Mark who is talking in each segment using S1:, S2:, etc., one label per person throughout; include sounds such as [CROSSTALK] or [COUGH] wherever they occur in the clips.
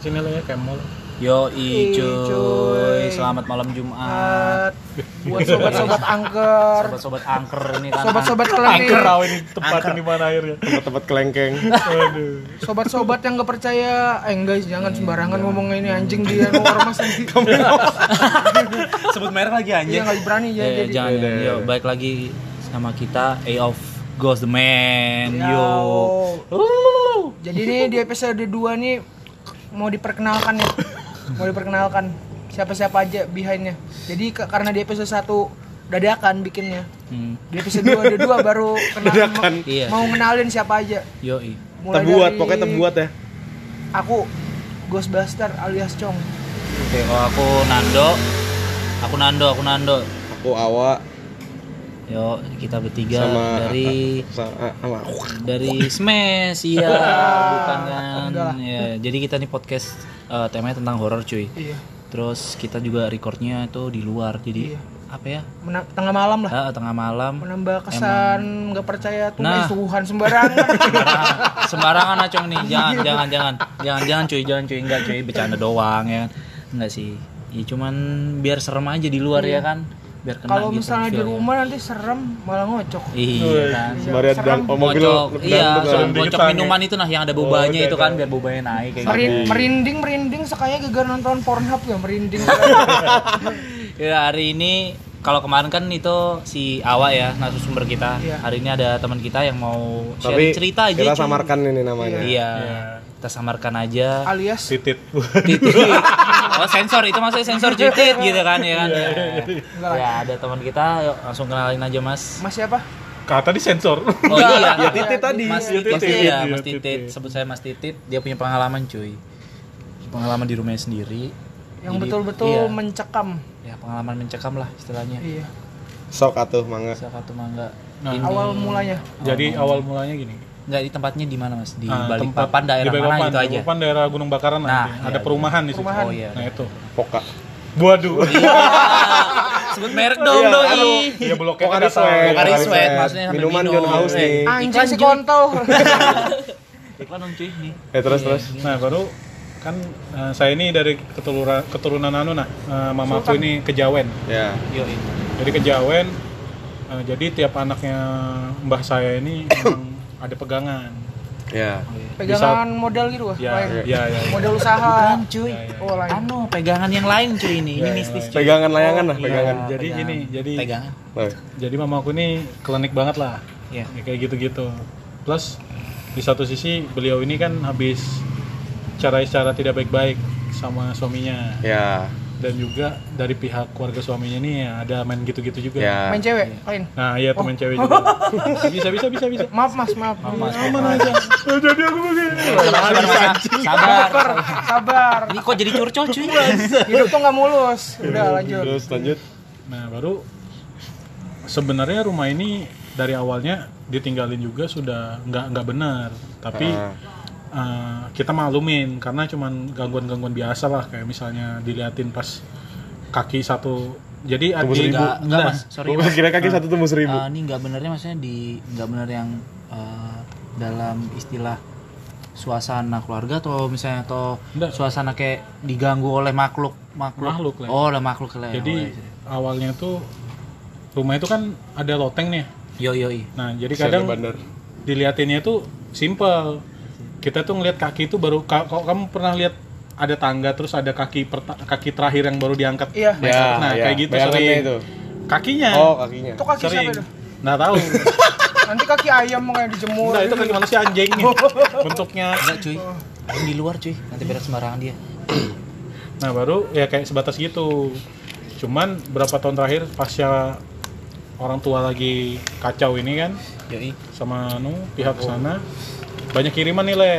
S1: Sini lah ya kayak mall.
S2: Yo i
S3: Ih, cuy. Ah.
S2: cuy, selamat malam Jumat.
S3: buat sobat-sobat angker,
S2: Sobat-sobat angker ini kan.
S3: sobat-sobat
S1: Angker
S3: kelengkeng,
S1: tahu ini tempatnya di mana akhirnya.
S4: tempat-tempat kelengkeng
S1: Aduh.
S3: sobat-sobat yang gak percaya, eh guys jangan sembarangan
S2: Iya.
S3: ngomong ini anjing dia mau ormas
S2: [LAUGHS]
S3: nanti,
S2: [LAUGHS] sebut merek lagi anjir.
S3: dia nggak berani ya
S2: Ya,
S3: jadi.
S2: jangan. Yo, baik lagi sama kita A of Ghost the Man.
S3: Ya,
S2: Yo.
S3: oh. Jadi nih di episode 2 nih mau diperkenalkan ya. Mau diperkenalkan siapa-siapa aja behindnya. Jadi ke- karena di episode 1 dadakan bikinnya.
S2: Hmm,
S3: Di episode 2 ada dua baru kenal,
S4: Dadakan.
S3: mau-
S2: Iya.
S3: mau kenalin siapa aja.
S2: yo i.
S4: terbuat
S3: dari
S4: pokoknya terbuat ya
S3: Aku Ghostbuster alias Chong.
S2: Oke, kalau aku Nando. Aku Nando, aku Nando.
S4: aku awa
S2: Yo, kita bertiga
S4: sama
S2: dari
S4: sama, sama aku
S2: dari Smash iya bukan kan
S3: Enggak lah.
S2: ya jadi kita nih podcast eh, temanya tentang horor cuy
S3: Iya.
S2: terus kita juga recordnya itu di luar jadi
S3: Iya.
S2: apa ya
S3: Mena- tengah malam lah.
S2: Ah, tengah malam
S3: Menambah kesan nggak percaya tuh
S2: Nah.
S3: guys, Tuhan
S2: [LAUGHS]
S3: sembarangan.
S2: Nah, sembarangan acong nih jangan
S3: Iya.
S2: jangan jangan jangan jangan cuy jangan cuy enggak cuy bercanda doang ya kan enggak sih ya cuman biar serem aja di luar ya kan biar kena
S3: Iya. Kalau
S2: gitu
S3: misalnya di
S2: feel-nya.
S3: rumah nanti serem malah ngocok.
S2: iya kan
S4: Sembari
S3: Serem.
S4: dan mobil
S2: Bocok,
S4: lu- lu-
S2: iya,
S4: lu-
S2: suruh
S4: lu-
S2: bocok
S3: ya.
S1: tangan.
S2: minuman itu nah yang ada bobanya
S3: Oh, iya,
S2: itu kan biar bobanya naik kayak gitu.
S3: Merin- merinding merinding sekaya gegar nonton Pornhub ya merinding.
S2: [LAUGHS] Ya, hari ini kalau kemarin kan itu si Awa ya narasumber kita.
S3: Iya.
S2: Hari ini ada teman kita yang mau
S4: tapi
S2: sharing cerita aja.
S4: kita
S2: cuy.
S4: samarkan ini namanya
S2: Iya. Kita samarkan aja.
S3: Alias
S1: Titit. [LAUGHS]
S2: Titit. oh, sensor itu maksudnya sensor titit gitu kan ya kan. Ya,
S3: Enggak.
S2: Ya, ada teman kita yuk langsung kenalin aja Mas.
S3: Mas siapa?
S1: Kata di
S2: [LAUGHS]
S1: sensor.
S2: Oh
S4: ya
S2: iya.
S4: titit tadi
S2: Mas
S1: Iya,
S2: Titit,
S1: Titit.
S2: iya,
S1: Iya,
S2: Mas Titit.
S1: Titit.
S2: Sebut saya Mas Titit, dia punya pengalaman cuy. Pengalaman di rumahnya sendiri.
S3: Yang
S2: Jadi,
S3: betul-betul
S2: iya.
S3: mencekam.
S2: ya pengalaman mencekam lah istilahnya.
S3: Iya.
S4: sok atuh mangga
S2: Salah satu mangga.
S1: Nah.
S2: Ini-
S3: Awal mulanya.
S1: Jadi awal mulanya gini.
S2: Enggak di tempatnya di mana Mas? Di
S1: Ah,
S2: balik
S1: tempat-
S2: papan daerah
S1: di
S2: mana
S1: Balikpapan,
S2: itu aja.
S1: Balikpapan daerah Gunung Bakaran
S2: Nah,
S1: nanti.
S2: iya,
S1: ada
S2: iya.
S1: perumahan di situ.
S3: Perumahan.
S2: Oh iya.
S1: Nah itu.
S4: poka
S1: Waduh.
S2: Sebut merek dong
S4: Iya,
S2: doi.
S1: [LAUGHS] Iya bloknya
S4: poka
S1: kan
S4: di
S1: datang.
S4: sweat
S2: Poka di
S4: di
S2: sweat,
S4: sweat.
S2: maksudnya sambil
S4: minuman
S2: minum.
S4: John House
S2: Eh.
S4: nih
S2: Iklan,
S3: Anjing si
S2: cuy. [LAUGHS]
S3: [LAUGHS] kontol.
S2: Iklan dong cuy nih.
S4: eh terus terus
S1: Nah baru kan eh, saya ini dari keturunan keturunan anu nah eh, mamaku ini kejawen.
S4: ya
S2: Yo ini.
S1: Jadi kejawen. eh, jadi tiap anaknya mbah saya ini emang ada pegangan.
S4: ya
S3: Pegangan modal gitu wah.
S2: Iya.
S1: Ya,
S3: lain.
S1: ya, ya. ya.
S3: Modal usaha.
S2: cuy.
S3: Oh lain.
S2: Anu pegangan yang lain cuy ini. Ini mistis cuy.
S4: pegangan layangan lah pegangan
S2: Iya,
S1: Ya, Jadi
S2: pegangan.
S1: gini, jadi
S2: pegangan.
S4: Nah,
S1: jadi mamaku ini klinik banget lah. [LAUGHS]
S2: Iya.
S1: Ya, kayak gitu-gitu. Plus di satu sisi beliau ini kan habis cara-cara tidak baik-baik sama suaminya
S4: ya
S1: dan juga dari pihak keluarga suaminya nih ya ada main gitu-gitu juga.
S4: ya
S3: Main cewek lain.
S1: Nah, iya teman cewek juga. bisa bisa bisa bisa.
S3: Maaf Mas, maaf.
S2: Mas,
S1: Aman aja. Jadi aku begini.
S2: Sabar, sabar, sabar.
S3: Sabar, sabar.
S2: Ini kok jadi curcol cuy?
S3: Hidup tuh nggak mulus.
S1: Iya,
S3: Udah
S1: gitu.
S3: lanjut.
S4: terus lanjut
S1: Nah, baru sebenarnya rumah ini dari awalnya ditinggalin juga sudah nggak nggak benar, tapi
S4: Ah.
S1: eh, kita maklumin karena cuman gangguan-gangguan biasa lah kayak misalnya diliatin pas kaki satu. Jadi
S4: Tunggu
S1: di-
S4: seribu.
S2: Enggak, enggak
S1: Nah,
S2: Mas. Sorry.
S4: gua kira kaki satu tumbuh seribu
S2: Eh, ini nggak benernya maksudnya di nggak bener yang eh, dalam istilah suasana keluarga atau misalnya atau
S1: Nggak.
S2: suasana kayak diganggu oleh makhluk makhluk,
S1: Makhluk lah.
S2: oh oleh makhluk lah ya,
S1: Jadi
S2: oleh-
S1: awalnya tuh rumah itu kan ada loteng nih.
S2: yo yo i.
S1: Nah, jadi
S4: Siapa
S1: kadang
S4: bandar
S1: diliatinnya itu simple. Kita tuh ngelihat kaki itu baru ka- kalau kamu pernah lihat ada tangga terus ada kaki perta- kaki terakhir yang baru diangkat.
S3: Iya.
S4: ya
S1: Nah,
S4: ya.
S1: kayak gitu
S4: Bayangannya
S1: sering.
S4: itu
S1: Kakinya.
S4: oh kakinya
S3: Itu kaki
S1: sering.
S3: siapa itu?
S1: Nggak tahu.
S3: Nanti kaki ayam mau dijemur.
S1: Enggak, itu kaki manusia anjing bentuknya.
S2: enggak cuy Ini di luar cuy nanti beres sembarangan dia
S1: Nah, baru ya kayak sebatas gitu. Cuman berapa tahun terakhir pasca orang tua lagi kacau ini kan
S2: yo i.
S1: sama anu pihak sana banyak kiriman nih le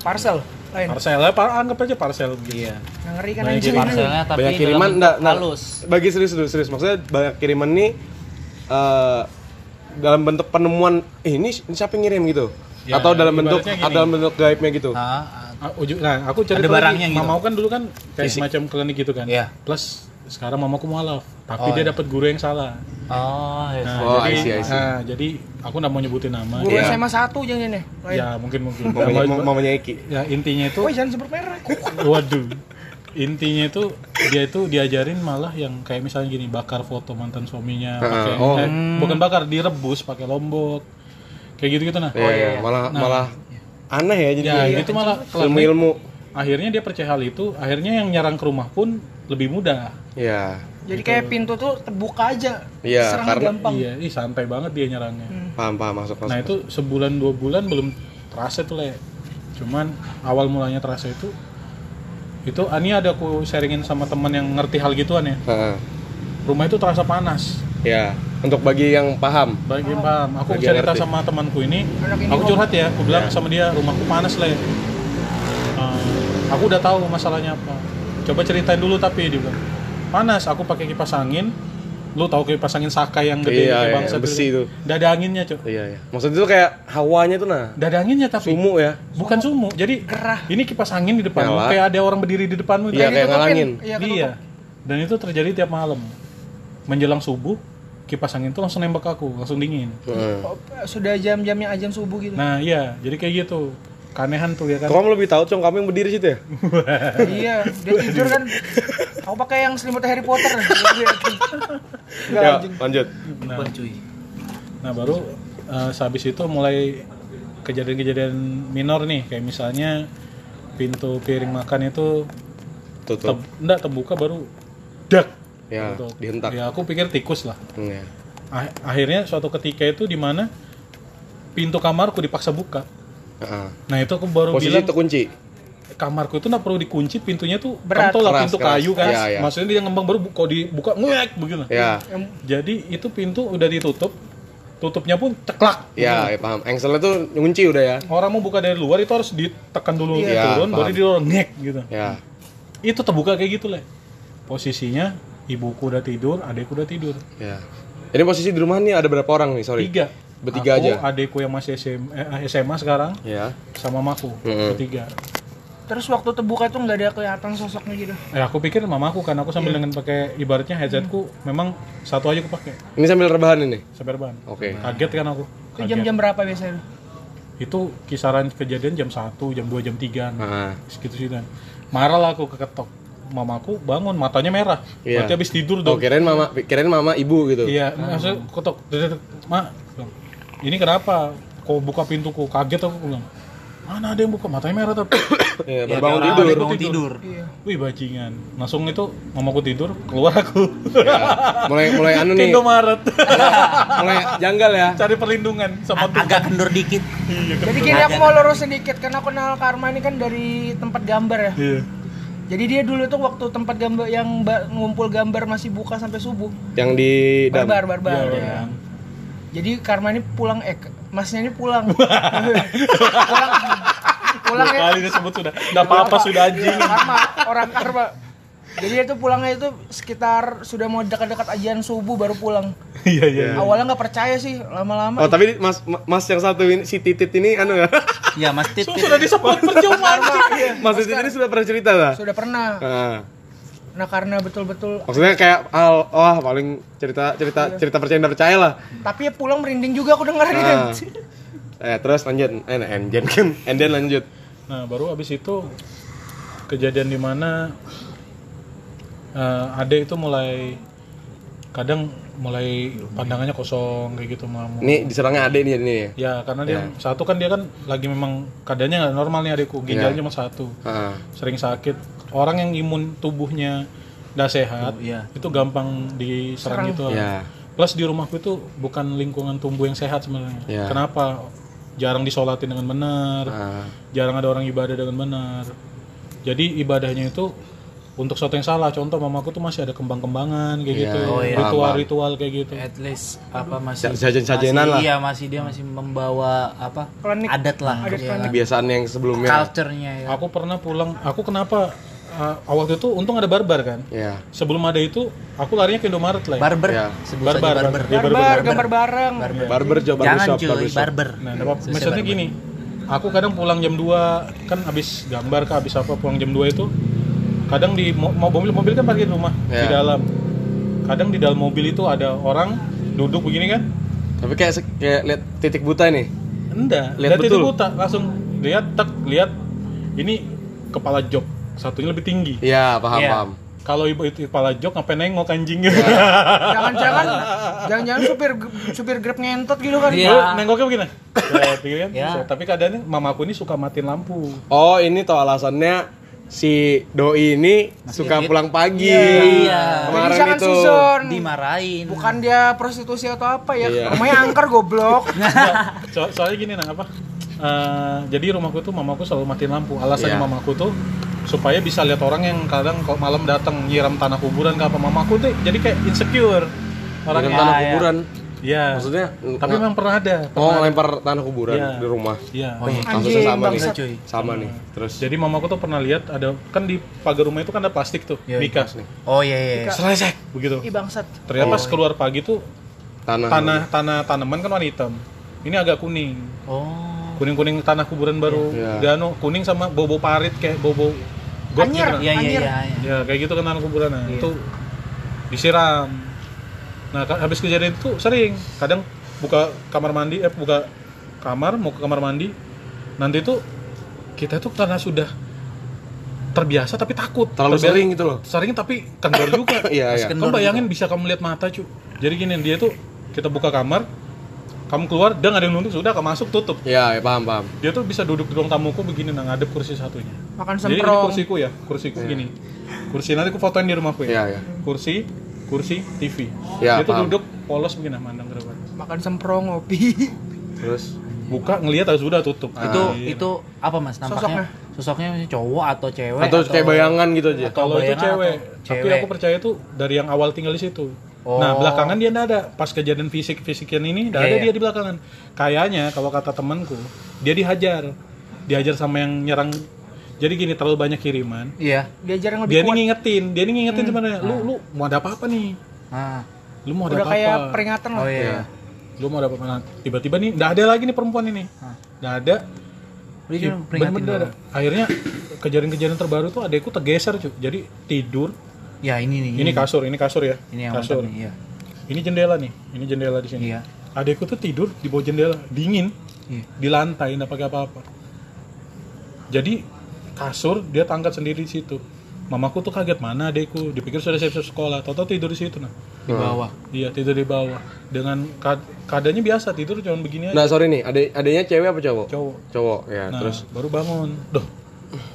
S3: Parcel lain.
S1: parcel ya, par- anggap aja parcel
S2: iya
S3: Yang ngeri kan
S1: Banyak
S3: anjing.
S2: parselnya tapi
S4: banyak
S2: dalam
S4: kiriman enggak nah,
S2: halus
S4: bagi serius dulu serius maksudnya banyak kiriman nih eh, dalam bentuk penemuan eh, ini ini siapa yang ngirim gitu
S1: Ya,
S4: atau dalam bentuk
S1: ibaratnya gini.
S4: atau dalam bentuk gaibnya gitu
S2: Ah, ah.
S1: Ah, uju- nah aku cerita
S2: Ada barangnya
S1: lagi,
S2: gitu.
S1: mama aku kan dulu kan kayak semacam klinik gitu kan
S2: Iya.
S1: plus sekarang mamaku mualaf tapi
S2: Oh,
S1: dia
S2: iya.
S1: dapat guru yang salah
S2: Oh, iya.
S1: Nah,
S5: Oh, I see,
S1: jadi
S5: I see.
S1: nah, jadi aku nggak mau nyebutin nama
S3: Guru
S5: Iya.
S3: SMA 1 jangan ya. Lain.
S1: ya mungkin mungkin
S5: mamanya,
S1: Nama-
S5: mamanya Iki
S1: ya intinya itu
S3: Woi, jangan sebut merah.
S1: waduh intinya itu dia itu diajarin malah yang kayak misalnya gini bakar foto mantan
S3: Ah,
S1: suaminya
S5: Heeh,
S1: pakai
S5: oh.
S1: eh, bukan bakar direbus pakai lombok kayak gitu gitu nah
S5: Iya, iya. malah malah aneh
S3: Iya,
S5: ya jadi
S1: ya itu malah
S5: ilmu
S1: kelar.
S5: ilmu
S1: akhirnya dia percaya hal itu akhirnya yang nyerang ke rumah pun lebih mudah
S5: ya
S3: Jadi kayak pintu tuh terbuka aja.
S5: Iya,
S3: Serangnya
S5: karena-
S3: gampang.
S1: iya ih santai banget dia nyerangnya
S3: Hmm.
S5: paham paham masuk masuk
S1: Nah itu sebulan dua bulan belum terasa tuh le. Cuman awal mulanya terasa itu itu ani ada aku sharingin sama teman yang ngerti hal gituan ya.
S5: Heeh.
S1: Rumah itu terasa panas.
S5: ya untuk bagi yang paham
S1: Bagi paham, aku
S5: Bagi yang
S1: cerita
S5: ngerti.
S1: sama temanku ini,
S3: Oh. Anak ini
S1: aku
S3: kok-
S1: curhat ya, aku bilang sama dia rumahku panas le. Eh, aku udah tahu masalahnya apa. Coba ceritain dulu tapi dia bilang panas. Aku pakai kipas angin. Lu tahu kipas angin Saka yang gede
S5: Iya,
S1: kayak
S5: iya,
S1: bangsa
S5: besi itu.
S1: Nggak ada anginnya cok.
S5: iya iya maksudnya itu kayak hawanya tuh nah
S1: Nggak ada anginnya tapi.
S5: sumu ya
S1: Bukan sumu, jadi
S3: Gerah.
S1: ini kipas angin di depan
S5: Nyala.
S1: kayak ada orang berdiri di depanmu.
S5: Iya, kayak
S3: ditutupin.
S5: ngalangin.
S3: Iya, ketutup.
S1: Iya. Dan itu terjadi tiap malam. Menjelang subuh, kipas angin itu langsung nembak aku, langsung dingin.
S5: Heeh.
S3: Oh, Sudah jam-jamnya azan subuh gitu.
S1: Nah, iya, jadi kayak gitu. Keanehan tuh ya kan.
S5: Kok kamu lebih tahu cong kamu yang berdiri situ ya
S3: iya, dia tidur kan. Aku pakai yang selimut Harry Potter. Enggak
S5: ya
S3: anjing.
S5: lanjut
S1: Nah,
S2: Wah, cuy.
S1: nah, baru eh, sehabis itu mulai kejadian-kejadian minor nih, kayak misalnya pintu piring makan itu
S5: tutup
S1: teb enggak terbuka baru dak
S5: ya
S1: Tutup.
S5: dihentak
S1: Ya aku pikir tikus lah.
S5: Hmm, ya.
S1: Ah- akhirnya suatu ketika itu di mana pintu kamarku dipaksa buka.
S5: Heeh.
S1: Nah itu aku baru
S5: posisi
S1: bilang
S5: terkunci
S1: kamarku itu nggak perlu dikunci pintunya tuh
S3: Berat.
S1: kental lah
S5: Keras,
S1: pintu
S5: keras.
S1: kayu kan.
S5: Iya, iya.
S1: Maksudnya dia ngembang baru bu- kok dibuka ngek begitu.
S5: ya
S3: Yang
S1: Jadi itu pintu udah ditutup, tutupnya pun ceklak.
S5: ya, ya paham engselnya tuh ngunci udah ya
S1: Orang mau buka dari luar itu harus ditekan dulu
S5: Iya,
S1: turun,
S5: paham.
S1: baru didorong ngek gitu.
S5: ya
S1: Itu terbuka kayak gitu lah. Posisinya ibuku udah tidur, adekku udah tidur.
S5: ya jadi posisi di rumah nih ada berapa orang nih sorry
S1: Tiga.
S5: Bertiga
S1: Aku,
S5: aja?
S1: Adekku yang masih SM, eh, SMA sekarang
S5: ya
S1: sama mamaku
S5: Mm-mm.
S1: bertiga.
S3: Terus waktu terbuka itu nggak ada kelihatan sosoknya gitu.
S1: Ya aku pikir mamaku kan aku
S5: Iya.
S1: sambil dengan pakai ibaratnya
S5: Mm.
S1: headsetku memang satu aja aku pakai
S5: ini sambil rebahan ini
S1: sampai rebahan.
S5: oke
S1: Kaget kan aku.
S3: Itu
S1: Kaget.
S3: jam-jam berapa biasanya?
S1: Itu kisaran kejadian jam 1, jam 2, jam 3.
S5: Heeh.
S1: Segitu sih dan. Marah lah aku keketok. Mamaku bangun matanya merah.
S5: Iya.
S1: Berarti habis tidur
S5: Oh,
S1: dong.
S5: kirain mama, kirain mama ibu gitu.
S1: Iya, maksudnya ketok. Dededed. Ma, bilang, ini kenapa? Kok buka pintuku? Kaget aku bilang. Mana ada yang buka matanya merah tapi.
S2: Ya,
S5: Iya, berbangun
S2: dia orang
S5: tidur.
S2: lagi Bangun tidur.
S3: Iya.
S1: Wih bajingan. Langsung itu mamaku tidur, keluar aku.
S5: Ya.
S1: [LAUGHS]
S5: Mulai mulai anu nih,
S1: Indomaret.
S5: mulai janggal ya.
S1: [LAUGHS] cari perlindungan sama Tuhan.
S2: Agak kendur dikit.
S3: Jadi kini aku mau lurus sedikit karena aku kenal Karma ini kan dari tempat gambar ya.
S1: Iya.
S3: Jadi dia dulu tuh waktu tempat gambar yang ba- ngumpul gambar masih buka sampai subuh.
S5: Yang di dam.
S3: Barbar, barbar.
S1: Iya,
S3: ya.
S1: Bang.
S3: Jadi Karma ini pulang eh masnya ini
S1: [LAUGHS]
S3: pulang. pulang. Pulang
S1: Dua
S3: ya.
S1: kali disebut sudah. Enggak apa-apa sudah anjing.
S3: Karma, orang karma. Jadi dia tuh pulangnya itu sekitar sudah mau dekat-dekat ajian subuh baru pulang.
S1: Iya, iya.
S3: Awalnya nggak percaya sih,
S5: Oh,
S3: lama-lama
S5: tapi di- Mas Mas yang satu ini si Titit ini anu ya.
S2: Ya, Mas Tit.
S1: Su- Sudah disebut percuma anjing.
S5: [LAUGHS] Mas Titit ini sudah pernah cerita lah.
S3: sudah pernah.
S5: Heeh.
S3: Nah karena betul-betul
S5: maksudnya kayak al wah paling cerita cerita cerita percaya nggak percaya lah.
S3: tapi ya pulang merinding juga aku dengar
S1: Ah.
S3: [LAUGHS]
S5: Nah.
S3: gitu.
S5: Eh, terus lanjut. Eh, nah, and then kan. And then lanjut.
S1: Nah, baru abis itu kejadian di mana eh, Ade itu mulai kadang mulai pandangannya kosong kayak gitu melamun.
S5: Ini diserangnya Ade nih ini.
S1: Ya, karena dia satu kan dia kan lagi memang keadaannya nggak normal nih adekku,
S5: Ya.
S1: ginjalnya cuma satu.
S5: Heeh.
S1: Sering sakit. Orang yang imun tubuhnya nggak sehat,
S2: Oh, iya.
S1: itu gampang diserang gitu.
S5: Ya.
S1: Plus di rumahku itu bukan lingkungan tumbuh yang sehat sebenarnya.
S5: Ya.
S1: Kenapa? Jarang disolatin dengan benar,
S5: Ah.
S1: jarang ada orang ibadah dengan benar. Jadi ibadahnya itu untuk sesuatu yang salah. Contoh mamaku tuh masih ada kembang-kembangan kayak
S5: Iya,
S1: gitu,
S5: oh iya.
S1: ritual-ritual kayak gitu.
S2: At least apa
S1: Ya,
S2: masih
S5: Sajen-sajenan
S2: masih-
S5: lah.
S2: Iya, masih dia masih membawa apa?
S3: Klinik.
S2: Adat lah.
S3: Adat
S2: Iya.
S3: klinik.
S5: Kebiasaan yang sebelumnya.
S2: Culture-nya ya.
S1: Aku pernah pulang, aku kenapa uh, waktu itu untung ada barbar kan.
S5: Ya.
S1: Sebelum ada itu aku larinya ke Indomaret lah. ya.
S2: Barber.
S5: Iya.
S2: Sebut saja
S1: barbar,
S2: barber.
S1: Dia barbar.
S3: Barbar, gambar bareng.
S5: Barber jawab barber
S2: Jangan
S5: shop,
S2: cuy,
S5: barber shop.
S2: barber.
S1: Nah, ada apa- maksudnya gini, aku kadang pulang jam 2 kan habis gambar kah habis apa pulang jam 2 itu kadang di mo- mo- mobil mobil kan parkir di rumah di
S5: Iya.
S1: dalam kadang di dalam mobil itu ada orang duduk begini kan
S5: Tapi kayak se- kayak lihat titik buta nih.
S1: enggak
S5: Lihat
S1: lihat itu
S5: betul.
S1: buta langsung lihat tek lihat ini kepala jok satunya lebih tinggi
S5: Iya, paham,
S2: Iya.
S5: paham.
S1: kalau ibu itu kepala jok ngapain nengok anjing [LAUGHS]
S3: Jangan-jangan jangan-jangan supir supir Grab ngentot gitu kan.
S2: Iya.
S1: Lu nengoknya begini Set, gitu kan?
S2: Iya.
S1: Set. tapi keadaannya mamaku ini suka matiin lampu
S4: Oh ini tau alasannya si doi ini suka
S2: Iya.
S4: pulang pagi.
S2: Iya.
S3: Jadi
S4: Kemarin
S3: jangan
S4: itu.
S3: susun.
S2: dimarahin
S3: Bukan dia prostitusi atau apa ya.
S4: Iya.
S3: Namanya angker goblok.
S1: So- soalnya gini nah apa eh, jadi rumahku tuh mamaku selalu matiin lampu alasannya
S5: Iya.
S1: mamaku tuh supaya bisa lihat orang yang kadang kok malam datang nyiram tanah kuburan ke apa mamaku tuh jadi kayak insecure
S5: Dengan
S1: orangnya
S5: tanah
S2: iya.
S5: kuburan.
S1: ya
S5: Maksudnya
S1: tapi
S5: nge-
S1: memang pernah ada
S5: oh lempar tanah kuburan
S1: Iya.
S5: di rumah.
S1: Iya.
S2: Oh,
S4: Kasusnya
S3: Anjing,
S4: sama nih.
S3: bangsat.
S2: cuy.
S4: Sama nih. Terus
S1: Jadi mamaku tuh pernah lihat ada kan di pagar rumah itu kan ada plastik tuh,
S2: Iya,
S1: mika.
S2: oh iya iya iya.
S1: Selesai begitu.
S3: [LAUGHS] Ih bangsat.
S1: Ternyata
S4: Oh.
S1: pas keluar pagi tuh
S4: tanah.
S1: tanah tanah tanaman kan warna hitam. Ini agak kuning.
S2: oh
S1: Kuning-kuning tanah kuburan baru.
S4: Iya.
S1: Dano kuning sama bobo parit kayak bobo got gitu.
S3: Anyer.
S2: iya iya
S3: Anjir.
S2: iya iya.
S1: Ya kayak gitu kan tanah kuburan. Nah,
S4: Iya.
S1: itu disiram. Nah, ka- habis kejadian itu sering kadang buka kamar mandi eh buka kamar mau ke kamar mandi nanti tuh kita tuh karena sudah terbiasa tapi takut
S4: Terlalu
S1: Terbiasa-
S4: sering gitu loh. [COUGHS]
S1: sering tapi kendor
S5: [LAUGHS]
S1: juga.
S4: Iya iya.
S2: Kendor
S1: Kamu bayangin bisa kamu lihat mata cu. Jadi gini dia tuh kita buka kamar, kamu keluar, dia nggak ada yang nunjuk sudah, kamu masuk tutup.
S4: Iya iya, paham paham.
S1: Dia tuh bisa duduk di ruang tamuku begini nah ngadep kursi satunya.
S3: Makan
S1: Jadi ini
S3: semprong.
S1: kursiku ya, kursiku gini. Kursi nanti aku fotoin di rumahku
S4: Iya
S1: ya.
S4: iya.
S1: Kursi, kursi, TV.
S4: Ya,
S1: dia tuh
S4: paham.
S1: duduk polos begini nah, mandang ke depan.
S3: Makan semprong ngopi.
S4: Terus
S1: Buka ngelihat harus sudah tutup. Nah.
S2: itu
S1: iya.
S2: itu apa mas nampaknya sosoknya, cowok atau cewek
S4: atau kayak bayangan gitu aja.
S1: Iya, kalau itu
S2: bayangan
S1: cewek,
S2: atau
S1: tapi
S2: cewek?
S1: aku percaya tuh dari yang awal tinggal di situ.
S2: Oh.
S1: Nah, belakangan dia nggak ada. Pas kejadian fisik-fisikan ini, nggak
S2: Iya,
S1: ada
S2: iya.
S1: dia di belakangan. Kayaknya kalau kata temanku, dia dihajar. Dihajar sama yang nyerang. Jadi gini, terlalu banyak kiriman.
S2: iya
S3: Diajar yang
S1: Dia ini
S3: lebih kuat. Hmm.
S1: ngingetin, dia ini ngingetin sebenarnya.
S2: Nah.
S1: Lu lu mau ada apa-apa nih?
S2: ah
S1: Lu mau ada
S3: Udah
S1: apa-apa?
S3: kayak peringatan lah.
S2: oh iya
S1: Lu mau ada apa-apa? Nah, tiba-tiba nih, nggak ada lagi nih perempuan ini. Nggak ada.
S2: udah cuma peringatin
S1: Bener-bener nggak ada.
S2: doang.
S1: Akhirnya kejadian-kejadian terbaru tuh adekku tergeser, cuy. Jadi tidur,
S2: ya ini nih
S1: ini kasur, ini kasur ya.
S2: ini yang
S1: kasur.
S2: mantap nih iya
S1: Ini jendela nih, ini jendela di sini.
S2: iya
S1: Adekku tuh tidur di bawah jendela, dingin,
S2: Iya.
S1: di lantai, nggak pakai apa-apa. Jadi kasur dia tangkat sendiri di situ. Mamaku tuh kaget mana adekku, dipikir sudah siap-siap sekolah, tau-tau tidur di situ nah.
S2: di bawah
S1: Iya tidur di bawah dengan kad- keadaannya biasa tidur cuman begini aja.
S4: Nah sorry nih, ade adanya cewek apa cowok?
S1: Cowok.
S4: Cowok ya.
S1: Nah,
S4: Terus
S1: baru bangun, doh,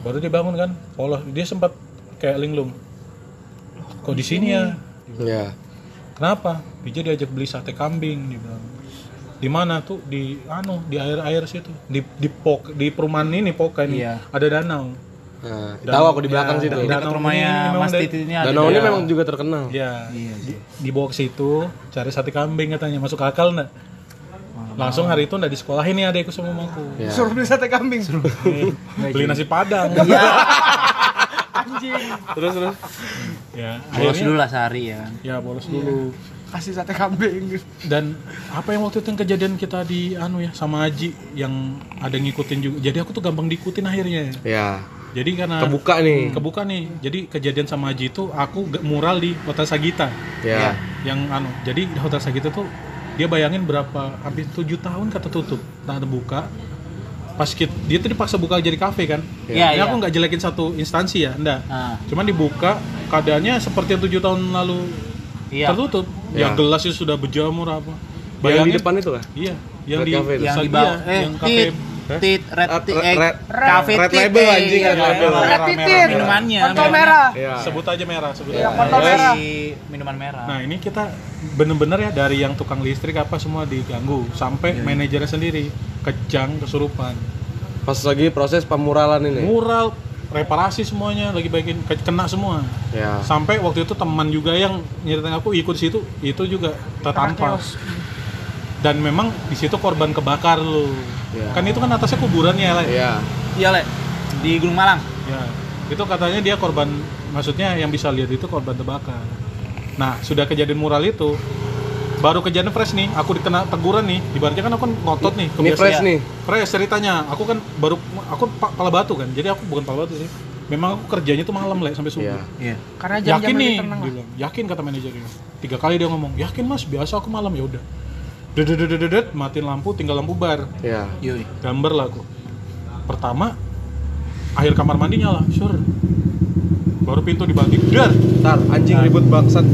S1: baru dia bangun kan, polos dia sempat kayak linglung. Kok di sini ya?
S4: ya.
S1: Kenapa? Bija diajak beli sate kambing dia bilang. Di mana tuh? Di anu, di air-air situ. Di di pok di perumahan ini Poka ini.
S2: Iya.
S1: Ada danau.
S4: Nah,
S1: Dan-
S4: tahu aku di belakang
S1: ya,
S4: situ.
S1: dan-
S2: dekat
S1: Danau ini
S2: rumahnya
S1: memang
S2: mas
S1: dari-
S2: titit ini ada
S4: Danau ini
S2: Iya.
S4: memang juga terkenal.
S1: Ya.
S2: Iya,
S1: Di, dibawa ke situ cari sate kambing katanya masuk akal enggak? Langsung hari itu enggak di sekolah ini adekku sama mamaku.
S2: Iya.
S4: Ya.
S3: Suruh beli sate kambing.
S1: Nih, Beli nasi padang.
S2: Iya.
S1: [LAUGHS]
S3: Anjing.
S4: Terus terus.
S1: ya,
S2: bolos
S1: akhirnya
S2: dulu lah sehari ya kan
S1: ya bolos dulu.
S3: Kasih sate kambing.
S1: Dan apa yang waktu itu yang kejadian kita di anu ya sama Aji yang ada ngikutin juga. Jadi aku tuh gampang diikutin akhirnya.
S4: Ya.
S1: Jadi karena Hmm,
S4: Kebuka nih.
S1: kebuka nih jadi kejadian sama Haji itu aku ge- mural di Hotel Sagita
S4: Ya.
S1: yang anu jadi di Hotel Sagita tuh dia bayangin berapa hampir 7 tahun kata tutup tak ada buka pas kit- dia tuh dipaksa buka jadi kafe kan
S2: Iya,
S1: Ini
S2: iya.
S1: aku nggak jelekin satu instansi ya enggak
S2: Ah.
S1: cuman dibuka keadaannya seperti yang 7 tahun lalu
S2: iya
S1: tertutup
S4: Iya.
S1: ya gelas itu sudah berjamur apa
S4: Yang di
S1: bayangin
S4: depan itu kan?
S1: iya yang
S4: Red
S1: di
S4: cafe itu.
S2: yang di
S1: Sagita,
S2: bawah eh
S1: yang kafe Iya,
S2: tit tit red
S4: Ah,
S2: tit
S4: red-
S2: eh,
S4: red-
S2: cafe
S4: red
S2: tit,
S4: label,
S2: eh,
S4: anjing,
S2: iya,
S4: red
S2: iya,
S4: label.
S2: iya.
S3: Merah titit.
S2: Minumannya,
S3: Kontol
S2: minumannya.
S3: merah.
S4: Ya.
S1: sebut aja merah sebut
S3: Iya,
S1: aja merah.
S3: kontol
S2: Terus
S3: merah.
S2: si minuman merah
S1: Nah ini kita bener-bener ya dari yang tukang listrik apa semua diganggu sampai manajernya sendiri kejang kesurupan
S4: Pas lagi proses pemuralan
S5: Iya.
S4: ini.
S1: mural reparasi semuanya lagi baikin ke- kena semua
S4: Ya.
S5: Ah.
S1: sampai waktu itu teman juga yang nyeritain aku ikut situ itu juga tertampar dan memang di situ korban kebakar lu
S4: Ya.
S1: kan itu kan atasnya kuburan ya Le.
S4: Ya.
S2: iya le di Gunung Malang
S1: Ya, itu katanya dia korban, maksudnya yang bisa lihat itu korban terbakar. Nah, sudah kejadian mural itu, baru kejadian fresh nih, aku dikena teguran nih, ibaratnya kan aku kan ngotot nih.
S4: Ini
S1: kebiasaan.
S4: fresh nih.
S1: Fresh ceritanya, aku kan baru, aku pa- pala batu kan, jadi aku bukan pala batu sih. memang aku kerjanya tuh malam lah sampai subuh
S5: Iya.
S2: Iya.
S3: Karena Nah, jam-jam
S1: yakin nih
S3: lebih tenang
S1: dia
S3: lah.
S1: bilang, yakin kata manajernya tiga kali dia ngomong yakin mas biasa aku malam ya udah dedet matiin lampu tinggal lampu bar
S5: Iya.
S2: Yoi.
S1: gambar lah aku pertama akhir kamar mandi nyala sure baru pintu dibanting dar
S5: Ntar anjing ribut bangsat.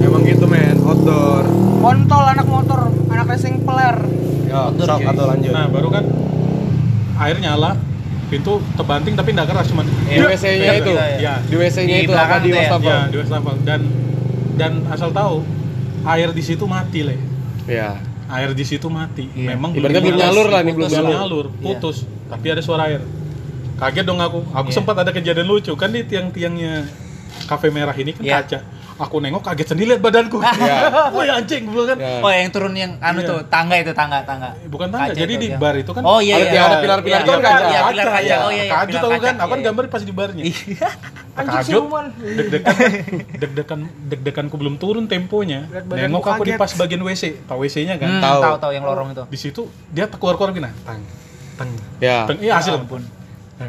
S5: Emang gitu men, outdoor.
S3: Kontol anak motor, anak racing peler.
S5: Ya,
S2: Outdoor,
S5: sok
S2: cuy.
S5: atau lanjut.
S1: nah baru kan air nyala pintu terbanting tapi nggak keras cuman
S5: Di
S1: "Dek!"
S5: WC-nya
S1: Iya,
S5: itu.
S1: iya.
S5: Di WC-nya
S2: Di
S5: itu apa
S2: belakang tuh
S5: di
S2: ya?
S5: wastafel?
S1: ya di wastafel dan dan asal tahu air di situ mati le
S5: Iya.
S1: air di situ mati
S2: Iya.
S1: memang
S5: Ibaratnya belum
S1: nyala.
S5: nyalur lah nih, belum
S1: putus
S5: nyalur.
S1: nyalur putus tapi ada suara air kaget dong aku aku
S2: Iya.
S1: sempat ada kejadian lucu kan di tiang-tiangnya kafe merah ini kan
S2: Iya.
S1: kaca aku nengok kaget sendiri lihat badanku
S2: [LAUGHS]
S1: woi anjing gue bilang kan
S5: Ya.
S2: Oh yang turun yang anu
S1: Iya.
S2: tuh tangga itu tangga tangga.
S1: Eh, bukan tangga
S2: Kaca
S1: jadi
S2: itu,
S1: di
S2: iya.
S1: bar itu kan
S2: Oh iya
S5: Ada-
S2: iya.
S5: ada pilar-pilar
S2: Iya,
S5: itu kan
S2: iya,
S5: kaca.
S2: Iya pilar kaca. Oh iya. iya,
S1: ya. kaget
S2: pilar
S1: aku kan
S2: kaca,
S1: aku kan
S2: iya.
S1: gambar pas di barnya
S2: Iya.
S1: Terkajut,
S3: Anjing siluman.
S1: deg-degan, deg-degan, deg-deganku belum turun temponya.
S3: Lihat badanku
S1: Nengok aku di
S3: kaget.
S1: pas bagian WC, tau WC-nya kan?
S2: Hmm,
S5: Tahu.
S2: Tahu tahu yang lorong itu.
S1: Di situ dia keluar-keluar gini, tang, tang,
S5: Ya.
S1: tang, iya hasil
S2: Ah,
S1: Eh,
S2: ampun.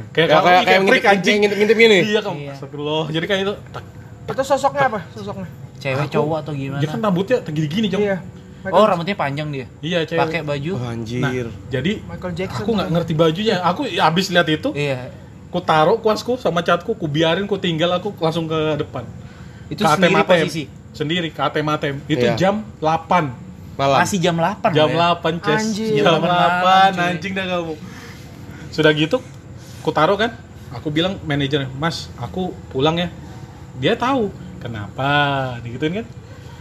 S1: Kayak
S5: Ya, kayak kayak
S1: freak
S5: ngintip
S1: anjing.
S5: anjing ngintip-ngintip gini.
S1: Iya kamu, astagfirullah. Jadi kayak itu, tak,
S3: Itu sosoknya apa? Sosoknya.
S2: Cewek cowok atau
S1: dia kan
S2: gimana?
S1: rambutnya gini-gini, Jok.
S3: Iya.
S2: Oh
S3: Michael,
S2: rambutnya panjang dia.
S1: Iya, cewek.
S2: Pakai baju.
S5: Oh,
S1: Nah,
S5: anjir.
S1: jadi
S3: Michael Jackson.
S1: aku nggak ngerti bajunya. Aku ya, abis lihat itu,
S2: Iya.
S1: ku taruh kuasku sama catku, ku biarin, ku tinggal, aku langsung ke depan.
S2: Itu
S1: Ke
S2: sendiri
S1: ATM-ATM.
S2: posisi.
S1: Sendiri ke ATM-ATM. Itu
S5: Iya.
S1: jam 8.
S5: Malam.
S2: Masih jam 8
S1: jam
S2: loh ya.
S1: 8 Ces
S3: Anjing.
S1: jam
S2: Jam
S1: 8
S2: delapan, cuy.
S1: anjing dah kamu sudah gitu ku taruh kan aku bilang manajer mas aku pulang ya dia tahu kenapa digituin kan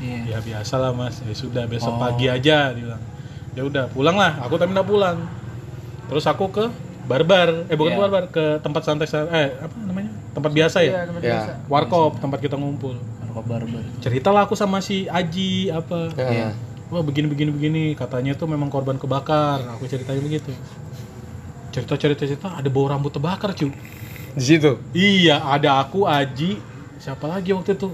S2: Iya.
S1: ya biasa lah mas ya sudah besok
S2: Oh.
S1: pagi aja dia bilang ya udah pulang lah aku tapi nggak pulang terus aku ke barbar eh bukan
S2: Iya.
S1: barbar ke tempat santai eh apa namanya tempat biasa
S3: Iya,
S1: ya
S3: teman
S5: Ya.
S3: biasa.
S1: warkop tempat kita ngumpul
S2: Rokok barber.
S1: ceritalah aku sama si Aji apa
S5: Iya.
S1: wah begini begini begini katanya tuh memang korban kebakar aku ceritanya begitu cerita cerita cerita ada bau rambut terbakar cuy
S5: Di situ.
S1: iya ada aku Aji siapa lagi waktu itu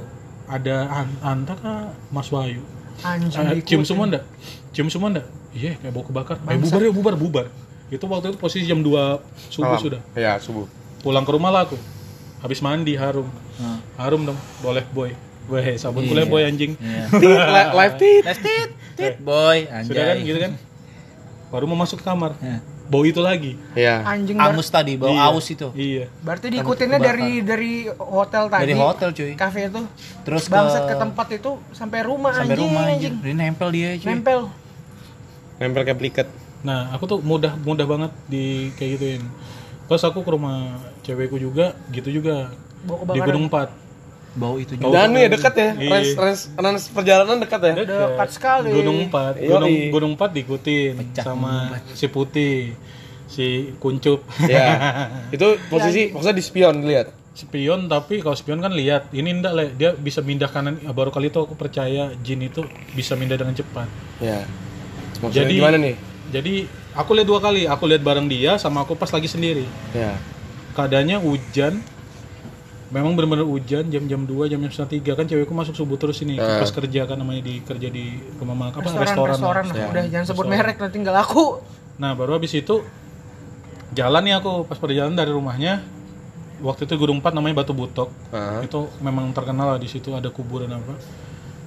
S1: ada An Anta kah Mas Wahyu
S3: Anjing.
S1: Eh,
S3: diikutin.
S1: cium semua ndak cium semua ndak iya kayak bau kebakar eh, bubar ya bubar bubar itu waktu itu posisi jam 2 subuh
S5: Malam.
S1: sudah
S5: Iya, subuh.
S1: pulang ke rumah lah aku habis mandi harum harum dong boleh boy Weh, sabun
S2: Iya.
S1: kulit boy anjing.
S5: Tit, li- live tit.
S2: Left it, tit boy, anjay.
S1: Sudah kan gitu kan. Baru mau masuk ke kamar.
S2: Iya.
S1: Bau itu lagi.
S5: Iya.
S3: Anjing. bar-
S2: Angus tadi bau
S1: Iya.
S2: aus itu.
S1: Iya.
S3: Berarti diikutinnya dari dari hotel tadi.
S2: Dari hotel, cuy.
S3: Kafe itu.
S2: Terus ke
S3: Bangsat ke tempat itu sampai rumah
S2: sampai
S3: anjing.
S2: rumah
S3: anjing.
S2: anjing. Dia nempel dia cuy.
S3: Nempel.
S5: Nempel kayak pliket.
S1: Nah, aku tuh mudah mudah banget di kayak gituin. Terus aku ke rumah cewekku juga, gitu juga.
S3: Bau
S1: Di
S3: kebakaran.
S1: Gunung 4.
S2: Bau itu juga.
S1: Bau
S5: Dan
S1: kebakaran.
S5: ya dekat ya.
S1: Oh, Iya.
S5: Range, range, range perjalanan dekat
S1: [LAUGHS]
S5: ya.
S3: Dekat sekali.
S1: Gunung 4.
S5: Yoi.
S1: Gunung Gunung 4 diikutin
S2: Pecah
S1: sama si Putih, si Kuncup. [LAUGHS]
S5: Iya. Itu
S2: Iya.
S5: posisi maksudnya di spion lihat.
S1: spion tapi kalau spion kan lihat ini ndak le dia bisa pindah kanan Ah, baru kali itu aku percaya jin itu bisa pindah dengan cepat
S5: Iya. Maksudnya
S1: Jadi-
S5: gimana nih?
S1: jadi aku lihat dua kali aku lihat bareng dia sama aku pas lagi sendiri
S5: Iya.
S1: keadaannya hujan memang benar-benar hujan jam-jam 2 jam-jam setengah tiga kan cewekku masuk subuh terus ini
S5: Eh.
S1: pas kerja kan namanya di kerja di rumah makan apa
S3: Restoran,
S1: restoran,
S3: restoran,
S1: lah.
S3: lah. Udah jangan sebut merek nanti tinggal aku.
S1: nah baru habis itu jalan nih aku pas perjalanan dari rumahnya waktu itu Gunung 4 namanya Batu Butok
S5: Ah.
S1: itu memang terkenal lah di situ ada kuburan apa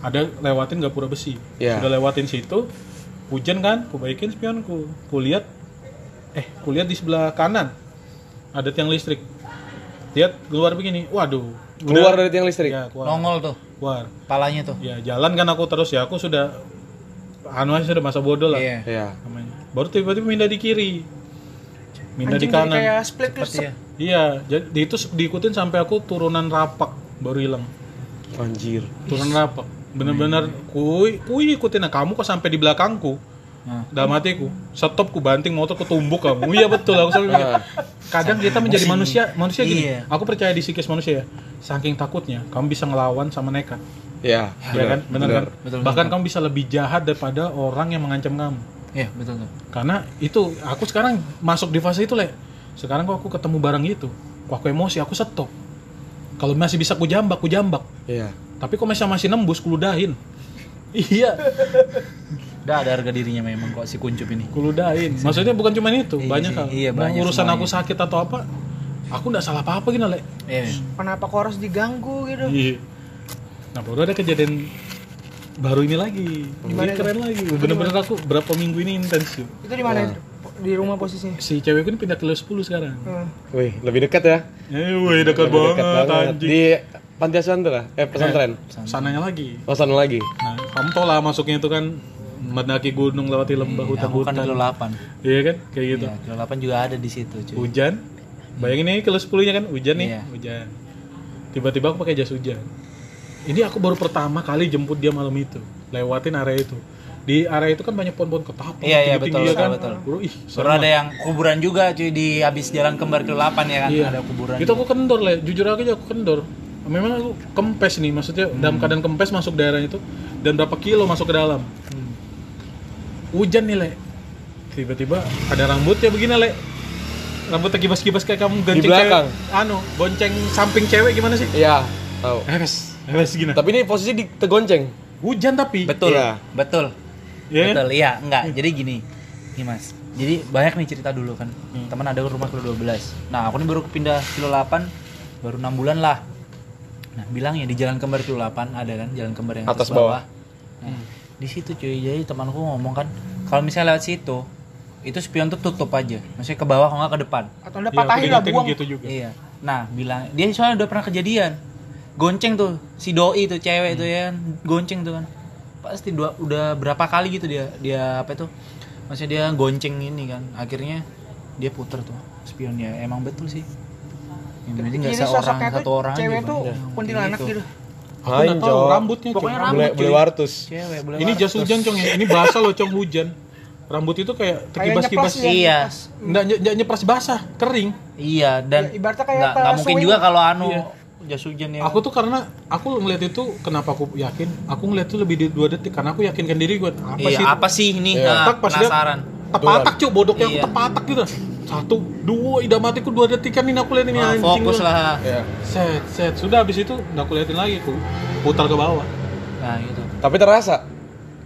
S1: ada lewatin gapura besi
S3: Ya.
S5: Iya.
S1: sudah lewatin situ hujan kan kubaikin spionku kulihat eh kulihat di sebelah kanan ada tiang listrik lihat keluar begini waduh
S5: Keluar dari tiang listrik.
S1: ya, keluar,
S2: Nongol tuh,
S1: keluar.
S2: palanya tuh.
S1: ya jalan kan aku terus ya aku sudah anu aja sudah masa bodoh lah
S2: Iya.
S5: Iya.
S1: namanya baru tiba-tiba pindah di kiri pindah
S3: Anjing
S1: di
S3: jadi
S1: kanan
S3: kayak split
S2: Seperti
S3: sep-
S2: ya.
S1: iya jadi itu se- diikutin sampai aku turunan rapak baru hilang
S5: Anjir.
S1: turun rapak bener-bener kui kui ikutin nah, kamu kok sampai di belakangku
S2: Nah.
S1: dalam hatiku stop ku banting motor ku tumbuk kamu iya betul aku sampai mikir. kadang kita menjadi
S2: Emosi.
S1: manusia manusia gini
S2: Ah. Iya.
S1: aku percaya di psikis manusia ya saking takutnya kamu bisa ngelawan sama nekat
S5: Iya.
S1: ya kan bener, kan
S2: Betul,
S1: bahkan kamu bisa lebih jahat daripada orang yang mengancam kamu
S2: Iya, betul tuh.
S1: karena itu aku sekarang masuk di fase itu le sekarang kok aku ketemu barang itu kok aku emosi aku stop kalau masih bisa ku jambak ku jambak
S5: Iya.
S1: tapi kok masih masih nembus kuludahin iya
S2: Udah ada harga dirinya memang kok si kuncup ini.
S1: kuludain maksudnya bukan cuma itu
S2: Iya
S1: banyak
S2: sih,
S1: kan
S2: iya,
S1: Mau
S2: banyak
S1: urusan
S2: semuanya.
S1: aku sakit atau apa aku nggak salah apa apa gitu le
S2: Iya. Mem.
S3: Kenapa kok harus diganggu gitu?
S1: iya nah baru ada kejadian baru ini lagi
S2: Oh,
S3: Gimana
S2: iya.
S1: Ini keren lagi bener-bener aku berapa minggu ini intens yuk.
S3: Itu di mana? Po- Di rumah posisinya.
S1: si cewekku ini pindah ke Los 10 sekarang
S3: Hmm.
S5: Wih, lebih dekat ya.
S1: eh woi dekat
S2: Iya,
S5: Lebih dekat
S1: banget
S5: banget.
S1: anjing
S5: Di panti asuhan tuh lah, eh pesantren.
S1: sananya lagi
S5: Oh, sana lagi.
S1: nah kamu tau lah masuknya itu kan mendaki gunung lewati lembah
S2: Aku kan
S1: hutan-hutan
S2: kilo 8.
S1: iya kan kayak gitu
S2: Iya, kilo 8 juga ada di situ, cuy.
S1: hujan bayangin ini kilo 10 nya kan hujan nih
S2: Iya.
S1: hujan tiba-tiba aku pakai jas hujan ini aku baru pertama kali jemput dia malam itu lewatin area itu di area itu kan banyak pohon-pohon ketapang
S2: Iya, iya, betul,
S1: tinggi-tinggi
S2: betul,
S1: kan
S2: betul.
S1: Baru, ih serem
S2: Soalnya ada yang kuburan juga cuy di habis jalan kembar kilo 8 ya kan
S1: Iya.
S2: ada kuburan.
S1: itu aku kendor lah jujur aja aku kendor memang aku kempes nih maksudnya dalam keadaan kempes masuk daerah itu dan berapa kilo masuk ke dalam hujan nih le tiba-tiba ada rambutnya begini le rambutnya kibas-kibas kayak kamu gonceng
S5: belakang.
S1: cewek anu bonceng samping cewek gimana sih
S5: Iya, tahu.
S1: Heves, heves gini.
S5: Tapi ini posisi di tegonceng.
S1: Hujan tapi.
S2: Betul,
S5: Iya.
S2: betul,
S1: Iya kan?
S2: betul. Iya, enggak. Jadi gini, nih mas. Jadi banyak nih cerita dulu kan.
S5: Hmm.
S2: Teman ada rumah kilo 12. Nah aku ini baru pindah kilo 8 baru enam bulan lah. Nah bilangnya di jalan kembar kilo 8 ada kan jalan kembar yang atas,
S5: Atas bawah.
S2: Nah, di situ cuy. Jadi temanku ngomong kan, kalau misalnya lewat situ itu spion tuh tutup aja. Maksnya ke bawah kalau nggak ke depan.
S3: Atau udah
S1: Iya,
S3: patahin
S1: aku
S3: lah
S1: ingetin
S3: buang.
S1: gitu juga.
S2: Iya. Nah, bilang dia soalnya udah pernah kejadian. Gonceng tuh si doi tuh cewek
S3: Hmm.
S2: tuh ya, kan. gonceng tuh kan. Pasti dua, udah berapa kali gitu dia dia apa itu? Maksudnya dia gonceng ini kan. Akhirnya dia puter tuh spionnya. Emang betul sih. Yang penting nggak
S3: Jadi
S2: Iya, seorang
S3: sosoknya
S2: satu
S3: tuh
S2: orang
S3: cewek
S2: aja,
S3: tuh
S2: Bang. Iya.
S3: kuntilanak gitu.
S1: Aku nggak tahu
S5: Anjol.
S1: rambutnya. Cong.
S2: Pokoknya
S5: Bule,
S2: rambut
S5: bule
S2: cuy.
S5: wartus.
S2: Cewek, boleh
S1: Ini
S2: warna.
S1: jas hujan cong ya. Ini basah loh cong hujan. Rambut itu kayak terkibas-kibas.
S3: nyeplos ya.
S2: Iya.
S1: Nggak nye- nggak nyepras basah, kering.
S2: Iya, dan
S3: Ya, ibaratnya kayak
S2: nggak- nggak
S3: tas
S2: mungkin
S3: swing.
S2: juga kalau anu
S3: Iya.
S2: jas hujan ya.
S1: Aku tuh karena aku ngeliat itu kenapa aku yakin? Aku ngeliat itu lebih dari dua detik karena aku yakinkan diri gue apa
S2: iya,
S1: sih? itu?
S2: apa sih ini?
S5: Iya.
S2: Nah,
S1: Tak, pas dia-
S2: penasaran.
S1: Tepatak cuy bodoknya aku
S2: Iya.
S1: tepatak gitu. Satu, dua, idam matiku dua detikan ini aku lihat ini
S2: Nah,
S1: anjing.
S2: fokus
S1: gua.
S2: lah.
S5: Iya.
S1: Set, set. Sudah habis itu udah aku liatin lagi aku putar ke bawah.
S2: Nah, gitu.
S5: Tapi terasa.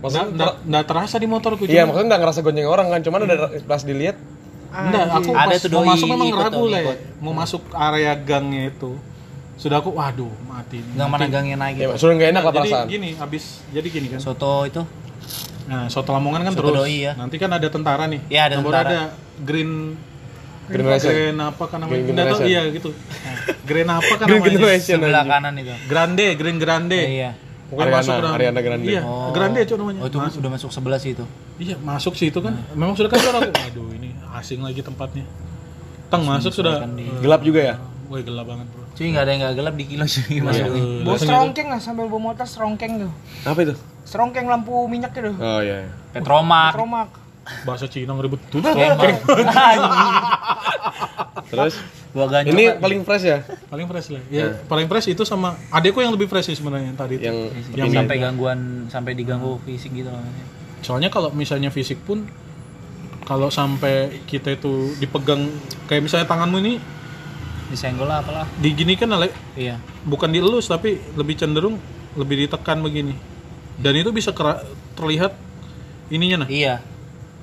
S1: Nggak-
S5: Maksudnya
S1: Nggak nggak terasa di motorku.
S5: Iya,
S1: cuma-
S5: maksudnya nggak ngerasa gonceng orang kan, cuman ada pas dilihat
S1: Enggak, aku
S2: Ada
S1: pas
S2: tuh
S1: mau
S2: doi
S1: masuk memang
S2: ikut
S1: ragu
S2: tuh,
S1: lah ya.
S2: ikut.
S1: Mau masuk area gangnya itu. Sudah aku, waduh, mati. nih,
S2: Nggak mana
S1: mati.
S2: gangnya naik
S5: ya
S2: gitu.
S5: sudah nggak enak lah
S1: Nah, jadi
S5: perasaan.
S1: gini, abis, jadi gini kan.
S2: Soto itu
S1: Nah, soto Lamongan kan
S2: Soto
S1: terus.
S2: doi ya.
S1: Nanti kan ada tentara nih.
S2: Iya, ada
S1: Nah, baru
S2: tentara.
S1: ada green
S5: Green Rising.
S1: green apa kan namanya?
S5: Green
S1: Nggak tahu,
S5: Generation.
S1: iya
S2: [LAUGHS]
S1: gitu. Nah, green apa kan
S5: Green
S1: namanya?
S5: Generation.
S2: sebelah
S5: anjing.
S2: kanan itu.
S1: Grande, green grande.
S2: Iya.
S1: Pokoknya
S5: Ariana,
S1: ke dalam-
S5: Ariana Grande.
S1: Iya, grande cok namanya.
S2: Oh, itu
S1: Masuk.
S2: udah masuk sebelah sih itu.
S1: Iya, masuk sih itu kan. Memang sudah kan suara aku. Aduh, ini asing lagi tempatnya. Tang masuk sudah.
S5: Gelap juga ya?
S1: Woi, gelap banget, Bro. Eh,
S2: Cuy, enggak ada yang enggak gelap di kilo
S1: Iya.
S2: cuy Mas Dwi.
S3: Bawa serongkeng lah sambil bawa motor serongkeng tuh.
S5: Apa itu?
S3: Serongkeng lampu minyak gitu.
S5: Oh iya. iya.
S2: Petromak.
S3: Romak.
S1: bahasa Cina ngeribet tuh
S2: Petromak.
S5: Terus
S2: Gua ganjol.
S5: ini paling fresh ya?
S1: paling fresh lah ya, paling fresh itu sama adekku yang lebih fresh sih sebenarnya yang tadi itu.
S5: Yang
S2: yang sampai gangguan sampai diganggu fisik gitu loh.
S1: soalnya kalau misalnya fisik pun kalau sampai kita itu dipegang kayak misalnya tanganmu ini
S2: Disenggol lah apalah.
S1: diginikan oleh
S2: Iya.
S1: bukan dielus tapi lebih cenderung lebih ditekan begini dan itu bisa kera- terlihat ininya nah
S2: Iya,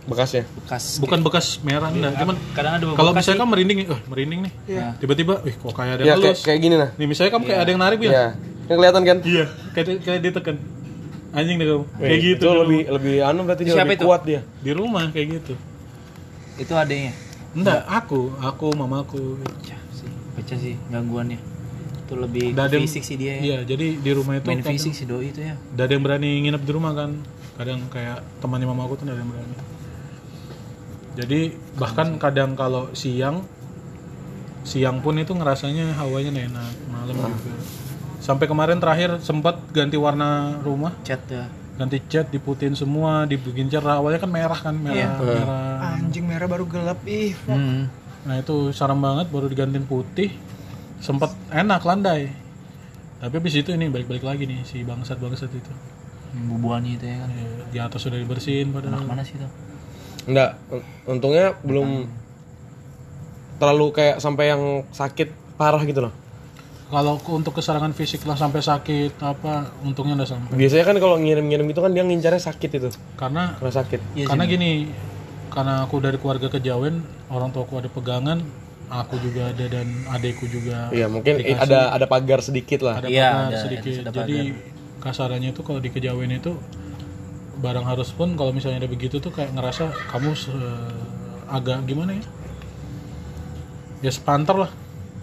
S5: bekasnya.
S2: bekas.
S1: bukan bekas merah enggak cuman
S2: Kadang ada
S1: kalau
S2: bekas
S1: misalnya kamu merinding nih, eh merinding nih. Tiba-tiba, wih kok kayak ada
S5: Ya
S1: yang
S5: kayak
S1: elus.
S5: kayak gini nah.
S1: Nih misalnya kamu kayak ada yang narik ya.
S5: Iya. Kan kelihatan kan?
S1: Iya, kayak kayak ditekan. Anjing deh kamu. Kayak
S5: Wih,
S1: gitu.
S5: Itu
S1: di
S5: lebih lebih anu berarti dia
S2: Siapa
S5: lebih
S2: itu?
S5: kuat dia.
S1: rumah. di rumah kayak gitu.
S2: itu adanya.
S1: Enggak, aku, aku mamaku.
S2: Pecah sih. Pecah sih gangguannya. Itu lebih
S1: Nggak ada yang-
S2: fisik sih dia. ya.
S1: Iya, jadi di rumah itu gitu.
S2: Main
S1: kadang-
S2: fisik si doi itu ya.
S1: nggak ada yang berani nginep di rumah kan. Kadang kayak temannya mamaku tuh nggak ada yang berani. Jadi bahkan kadang kalau siang siang pun itu ngerasanya hawanya nggak enak, malam juga. Sampai kemarin terakhir sempat ganti warna rumah,
S2: Chat ya.
S1: ganti cat, diputin semua, dibikin cerah. Awalnya kan merah kan, merah,
S2: Iya.
S1: merah.
S3: Anjing merah baru gelap ih.
S2: Hmm.
S1: Nah itu sarang banget baru digantiin putih sempat enak landai tapi habis itu ini balik-balik lagi nih si bangsat-bangsat itu
S2: Yang bubuannya itu ya kan.
S1: Eh, di atas sudah dibersihin
S2: Anak
S1: padahal
S2: mana sih itu?
S5: Enggak, un- untungnya belum terlalu kayak sampai yang sakit parah gitu loh.
S1: kalau ke- untuk keserangan fisik lah sampai sakit apa untungnya nggak sampai
S5: Biasanya kan kalau ngirim-ngirim itu kan dia ngincarnya sakit itu,
S1: karena
S5: karena sakit.
S2: Iya
S1: karena gini karena aku dari keluarga kejawen orang tuaku ada pegangan aku juga ada dan adekku juga
S5: Iya, mungkin eh, ada ada pagar sedikit
S1: Ah,
S5: lah.
S1: ada
S2: Iya,
S1: pagar
S2: ada-
S1: sedikit
S2: ada
S1: jadi kasarannya itu kalau di kejawen itu barang harus pun kalau misalnya ada begitu tuh kayak ngerasa kamu se- eh, agak gimana ya ya sepantar lah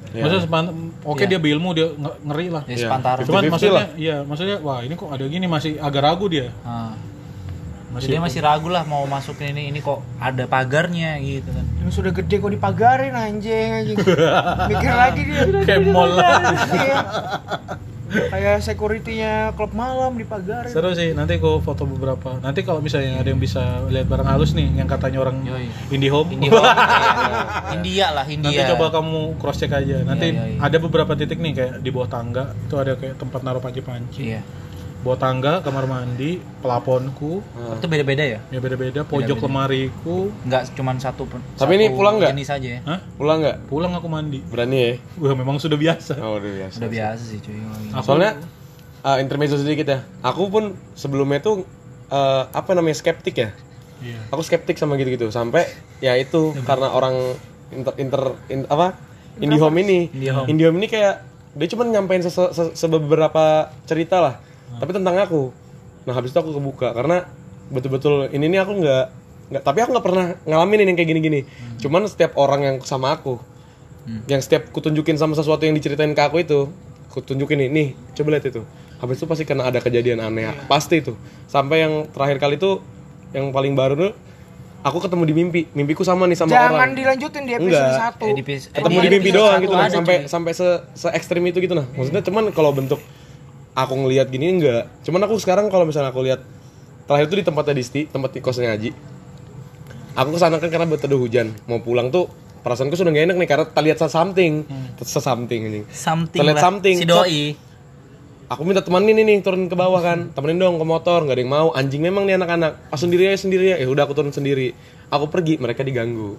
S1: maksudnya sepantar oke
S2: Iya.
S1: dia berilmu dia nge- ngeri lah
S2: ya sepantaran
S1: cuman maksudnya iya maksudnya wah ini kok ada gini masih agak ragu dia
S2: Ah. Jadi dia masih ragu lah mau masuk ini ini kok ada pagarnya gitu
S5: [LAUGHS]
S2: kan
S3: Ini sudah gede kok dipagarin anjing
S1: [LAUGHS]
S3: anjing. Mikir lagi dia.
S1: kayak mall lah
S3: Iya. Kayak security-nya klub malam dipagarin.
S1: seru sih nanti aku foto beberapa nanti kalau misalnya ada yang bisa lihat barang halus nih yang katanya orang
S2: Yoi.
S1: IndiHome
S2: India India lah India
S1: Nanti coba kamu cross check aja. Nanti
S2: Iya, iya, iya.
S1: ada beberapa titik nih kayak di bawah tangga itu ada kayak tempat naruh panci-panci.
S2: iya
S1: Bawah tangga, kamar mandi, pelaponku,
S2: itu beda beda ya
S1: ya beda-beda, pojok lemariku.
S2: nggak cuman satu pun
S5: Tapi ini pulang nggak?
S2: jenis aja ya
S1: Hah?
S5: Pulang nggak?
S1: Pulang aku mandi.
S5: Berani ya?
S1: Wah, memang sudah
S2: Iya,
S1: biasa.
S5: Oh, udah biasa.
S2: udah biasa sih cuy
S1: Aku-
S5: Soalnya eh, intermezzo sedikit ya. Aku pun sebelumnya tuh eh, apa namanya skeptik ya.
S1: Iya.
S5: Aku skeptik sama gitu-gitu sampai ya itu karena orang inter inter in- apa IndiHome ini. IndiHome ini kayak dia cuma nyampein sese- se- sebeberapa cerita lah. Tapi tentang aku. Nah, habis itu aku kebuka karena betul-betul ini nih aku nggak nggak tapi aku nggak pernah ngalamin ini yang kayak gini-gini. Cuman setiap orang yang sama aku yang setiap kutunjukin sama sesuatu yang diceritain ke aku itu kutunjukin ini nih coba lihat itu habis itu pasti karena ada kejadian aneh pasti itu sampai yang terakhir kali itu yang paling baru tuh aku ketemu di mimpi mimpiku sama nih sama
S3: Jangan
S5: orang
S3: dilanjutin Eh, di episode
S5: Enggak.
S3: 1.
S5: ketemu
S2: Iya,
S5: di mimpi doang gitu nah sampai sampai se se ekstrim itu gitu nah maksudnya cuman kalau bentuk aku ngelihat gini enggak cuman aku sekarang kalau misalnya aku lihat terakhir itu di tempatnya Disti tempat di kosnya Aji aku kesana kan karena berteduh hujan mau pulang tuh perasaanku sudah gak enak nih karena terlihat something sesamting ini
S2: something
S5: Terlihat
S2: lah.
S5: something.
S2: si doi
S5: aku minta temenin ini turun ke bawah kan temenin dong ke motor nggak ada yang mau anjing memang nih anak-anak ah sendiri aja sendiri ya udah aku turun sendiri aku pergi mereka diganggu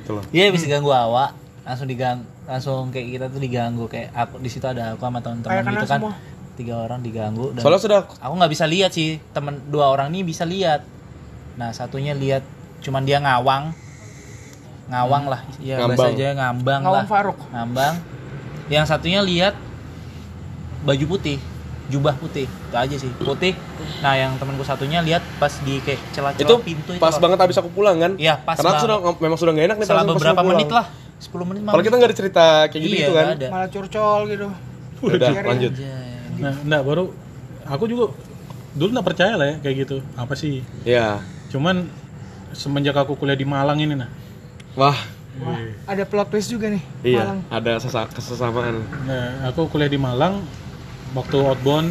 S5: gitu loh
S2: dia Iya, bisa ganggu awak langsung diganggu langsung kayak kita tuh diganggu kayak aku di situ ada aku sama teman-teman
S3: Kayak kena
S2: gitu kan
S3: semua.
S2: tiga orang diganggu dan
S5: soalnya sudah
S2: aku nggak bisa lihat sih temen dua orang ini bisa lihat nah satunya lihat cuman dia ngawang ngawang lah ya
S5: Hmm. Ngambang.
S2: bahasa aja ngambang,
S3: Ngawang
S2: lah
S3: Faruk.
S2: ngambang yang satunya lihat baju putih jubah putih itu aja sih putih nah yang temanku satunya lihat pas di kayak
S5: itu
S2: celah-celah pintu itu
S5: pas
S2: loh.
S5: banget abis aku pulang kan
S2: Iya, pas
S5: karena aku
S2: banget.
S5: sudah memang sudah gak enak nih
S2: setelah
S5: perasaan pas
S2: beberapa
S5: aku pulang.
S2: menit lah 10 menit malah
S5: kalau kita nggak ada cerita kayak
S2: iya,
S5: gitu
S2: iya.
S5: gitu kan
S2: nggak ada.
S3: Malah curcol gitu.
S5: udah lanjut
S2: Anjay.
S1: Nah, enggak baru aku juga dulu nggak percaya lah ya kayak gitu. Apa sih?
S5: ya
S1: Cuman semenjak aku kuliah di Malang ini nah.
S5: wah
S3: Wah, ada plot twist juga nih.
S5: iya
S3: Malang.
S5: ada sesa- kesesamaan
S1: Nah, aku kuliah di Malang waktu outbound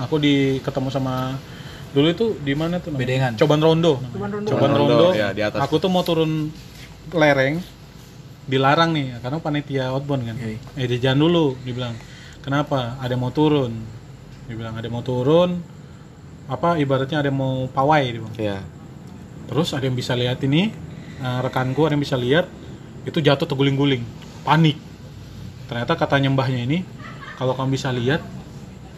S1: aku di ketemu sama dulu itu di mana tuh namanya?
S2: Bedengan.
S1: Coban Rondo. Coban Rondo. Coban Rondo.
S5: Rondo, ya, di atas.
S1: Aku tuh mau turun lereng dilarang nih karena panitia outbound kan.
S2: Yoi.
S1: Eh dia jangan dulu dibilang. Kenapa? Ada yang mau turun. Dibilang ada yang mau turun. Apa ibaratnya ada yang mau pawai dibilang.
S5: ya
S1: Terus ada yang bisa lihat ini eh, rekanku ada yang bisa lihat itu jatuh terguling-guling, panik. Ternyata kata nyembahnya ini kalau kamu bisa lihat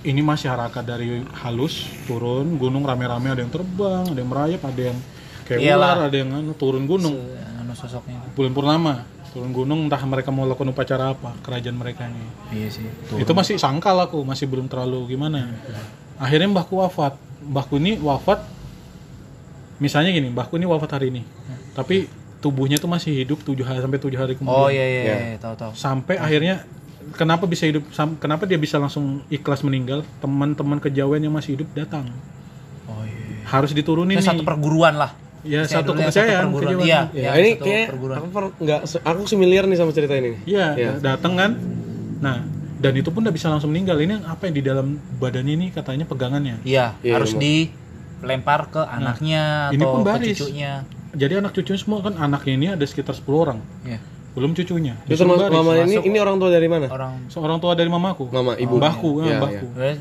S1: ini masyarakat dari halus turun gunung rame-rame ada yang terbang, ada yang merayap, ada yang kayak
S2: Iyalah.
S1: ular, ada yang anu, turun gunung.
S2: Anu sosoknya
S1: Bulan purnama turun gunung entah mereka mau lakukan upacara apa kerajaan mereka ini.
S2: iya sih
S1: Itu masih sangkal aku, masih belum terlalu gimana. Akhirnya mbahku wafat. Mbahku ini wafat misalnya gini, mbahku ini wafat hari ini. Tapi tubuhnya tuh masih hidup 7 hari sampai 7 hari kemudian.
S2: oh iya iya, iya tahu tahu
S1: Sampai akhirnya kenapa bisa hidup sam- kenapa dia bisa langsung ikhlas meninggal? Teman-teman kejawen yang masih hidup datang.
S2: oh iya
S1: Harus diturunin
S2: Itu
S1: nih.
S2: satu perguruan lah
S1: ya
S2: Saya
S1: satu
S2: dulu ya,
S1: kepercayaan
S2: satu perguruan.
S1: kejawen.
S2: iya
S5: ya,
S2: yang
S5: ini
S2: satu
S5: kayak
S2: perguruan
S5: aku per, nggak se- aku familiar nih sama cerita ini
S1: Iya,
S5: Iya.
S1: datang kan. Nah, dan itu pun udah bisa langsung meninggal. Ini yang apa yang di dalam badannya ini katanya pegangannya.
S2: iya
S5: Iya,
S2: harus
S5: ilmu.
S2: dilempar ke anaknya
S1: iya. ini
S2: atau
S1: pun
S2: ke
S1: baris.
S2: cucunya
S1: Jadi anak cucunya semua kan anaknya ini ada sekitar 10 orang.
S2: Iya.
S1: Belum cucunya.
S5: itu
S1: Disuruh
S5: termasuk
S1: baris.
S5: mama ini ini orang tua dari mana
S2: orang
S1: Seorang tua dari mamaku.
S5: Mama, ibu.
S1: Mbahku,
S5: Iya,
S1: eh, mbahku.
S2: Terus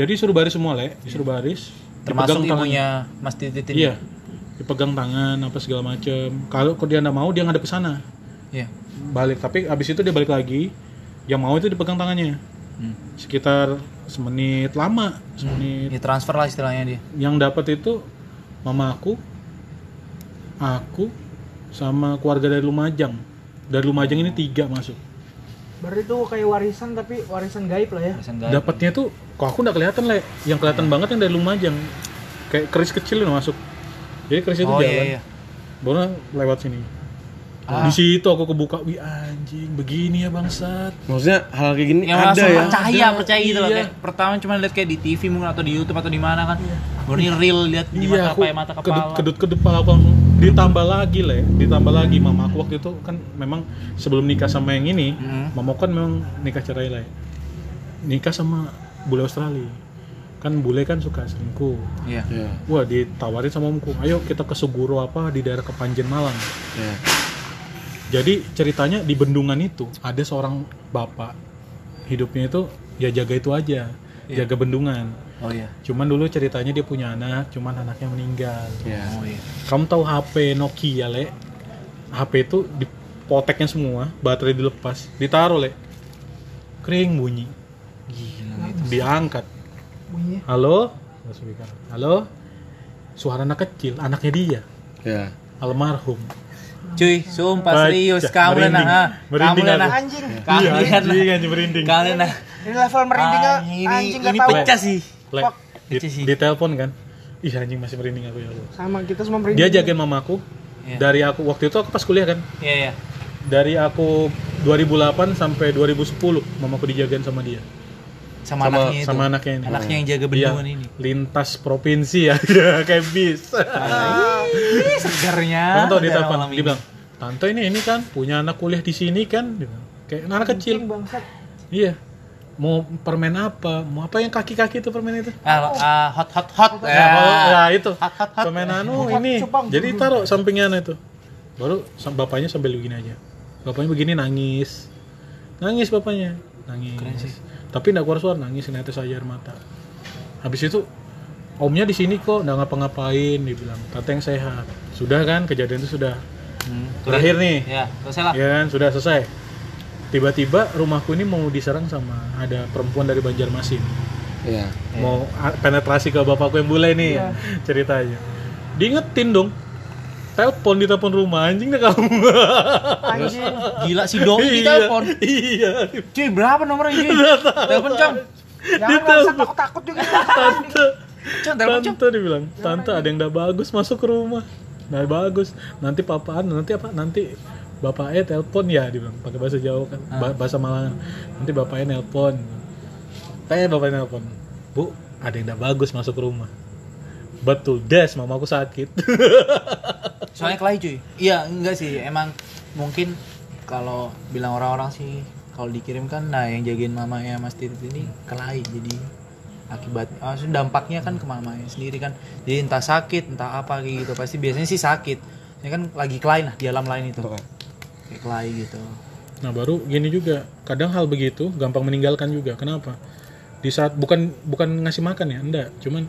S1: Jadi suruh baris semua, Le. Disuruh baris.
S2: termasuk
S1: Dipegang tangan.
S2: ibunya Mas Titin
S1: Iya. Dipegang tangan apa segala macem. Kalau kalau dia nggak mau dia ngadep ke sana.
S2: iya
S1: Balik, tapi abis itu dia balik lagi. yang mau itu dipegang tangannya
S2: Hmm.
S1: sekitar semenit lama semenit
S2: Ya transfer lah istilahnya dia.
S1: yang dapat itu mama aku aku sama keluarga dari Lumajang dari Lumajang ini tiga masuk
S3: Berarti itu kayak warisan tapi warisan gaib lah ya.
S2: Alasan gaib.
S1: dapatnya tuh kok aku nggak kelihatan lah yang kelihatan banget yang dari Lumajang kayak keris kecil yang masuk jadi keris itu
S2: Oh
S1: jalan
S2: iya iya.
S1: Bona lewat sini
S2: Ah.
S1: di situ aku kebuka wih anjing begini ya bangsat
S5: Maksudnya hal kayak gini
S2: Yang
S5: ada
S2: langsung
S5: ya.
S2: percaya,
S1: Ada,
S2: percaya gitu loh
S1: iya.
S2: kayak pertama cuma lihat kayak di TV mungkin atau di YouTube atau di mana kan. Baru
S1: Iya.
S2: ini real lihat di mata apa ya mata
S1: kedut
S2: kepala.
S1: kedut kedut kepala aku langsung ditambah lagi lah ya. ditambah lagi mama aku waktu itu kan memang sebelum nikah sama yang ini
S2: Hmm.
S1: mama aku kan memang nikah cerai lah ya. nikah sama bule Australia kan bule kan suka selingkuh
S2: Iya.
S5: Iya.
S1: wah ditawarin sama omku ayo kita ke Seguro apa di daerah Kepanjen Malang
S5: Iya.
S1: jadi ceritanya di bendungan itu ada seorang bapak hidupnya itu ya jaga itu aja
S2: Iya.
S1: jaga bendungan
S2: Oh iya.
S1: cuman dulu ceritanya dia punya anak cuman anaknya meninggal
S5: Iya.
S2: Oh iya.
S1: kamu tahu HP Nokia le HP itu dipoteknya semua baterai dilepas ditaruh le kering bunyi diangkat
S3: Bunyinya.
S1: halo halo suara anak kecil anaknya dia
S5: Iya.
S1: almarhum
S2: Cuy, sumpah
S1: Baca,
S2: serius
S1: Iya,
S2: kamu
S1: merinding.
S2: nah, ah. kamu
S1: Merinding
S2: lah
S1: aku.
S2: nah,
S3: Anjing.
S2: kamu
S1: Iya,
S2: lihat
S1: anjing, anjing merinding.
S2: kalian nah,
S3: Ini level
S1: Ah,
S3: merindingnya anjing
S2: Ah, ini,
S3: gak
S2: ini
S3: tahu.
S2: pecah sih.
S1: Le,
S3: Fuck.
S1: di,
S2: Kecil sih.
S1: di telepon kan ih anjing masih merinding aku ya Allah
S3: Sama kita semua
S1: dia
S3: merinding.
S1: jagain mamaku
S2: Iya.
S1: dari aku waktu itu aku pas kuliah kan
S2: Iya iya.
S1: dari aku 2008 sampai 2010 mamaku dijagain sama dia
S2: Sama, anaknya itu.
S1: sama anaknya ini
S2: Anaknya yang jaga
S1: Iya,
S2: bendungan ini.
S1: lintas provinsi ya [LAUGHS] Iya, kayak bis
S2: Ih, segarnya.
S1: kamu tau di
S2: udara
S1: telepon
S2: Ah, malam ini.
S1: dia bilang tante ini ini kan punya anak kuliah di sini kan Dia bilang, kayak anak kecil [LAUGHS]
S3: bangsat.
S1: iya mau permen apa mau apa yang kaki-kaki itu permen itu
S2: Ah, ah, hot hot hot.
S1: Ya,
S3: Iya,
S1: kalau-
S2: Ah.
S1: ya itu.
S2: Hot, hot, hot.
S1: Permen anu
S3: Hot,
S1: ini.
S3: cupang.
S1: Jadi taruh sampingnya anu itu. Baru sam- bapaknya sambil begini aja. Bapaknya begini nangis. Nangis bapaknya. Nangis. Tapi nggak keluar suara nangis netes aja air mata. Habis itu omnya di sini kok nggak ngapa-ngapain dibilang tante yang sehat sudah kan kejadian itu sudah
S2: Hmm,
S1: Terakhir nih.
S2: Ya, selesai lah.
S1: ya kan sudah selesai tiba-tiba rumahku ini mau diserang sama ada perempuan dari Banjarmasin
S5: Iya.
S1: mau a- penetrasi ke bapakku yang bule nih ceritanya diingetin dong telepon di telepon rumah anjing deh kamu [LAUGHS]
S3: Anjing.
S2: Gila si doi di
S1: Iya,
S2: telepon.
S1: iya
S2: Cuy, berapa nomornya cuy? Telepon Cang.
S3: Jangan bangsat aku takut juga.
S1: tante
S2: Cang, telepon Cang.
S1: tante dibilang tante ada yang udah bagus masuk ke rumah nah bagus nanti papaan nanti apa nanti bapaknya telepon ya dibilang pakai bahasa Jawa kan ba- bahasa Malangan nanti bapaknya nelpon teh bapaknya nelpon bu ada yang udah bagus masuk ke rumah betul des mamaku sakit [LAUGHS]
S2: Soalnya kelahi cuy. Iya, enggak sih. Emang mungkin kalau bilang orang-orang sih kalau dikirim kan nah yang jagain mamanya Mas Tirit ini kelahi jadi akibat ah, maksudnya dampaknya kan ke mamanya sendiri kan jadi entah sakit entah apa kayak gitu pasti biasanya sih sakit ini kan lagi kelahi lah di alam lain itu
S1: Oh.
S2: kayak kelahi gitu
S1: Nah baru gini juga, kadang hal begitu gampang meninggalkan juga. Kenapa? Di saat bukan bukan ngasih makan ya, enggak. Cuman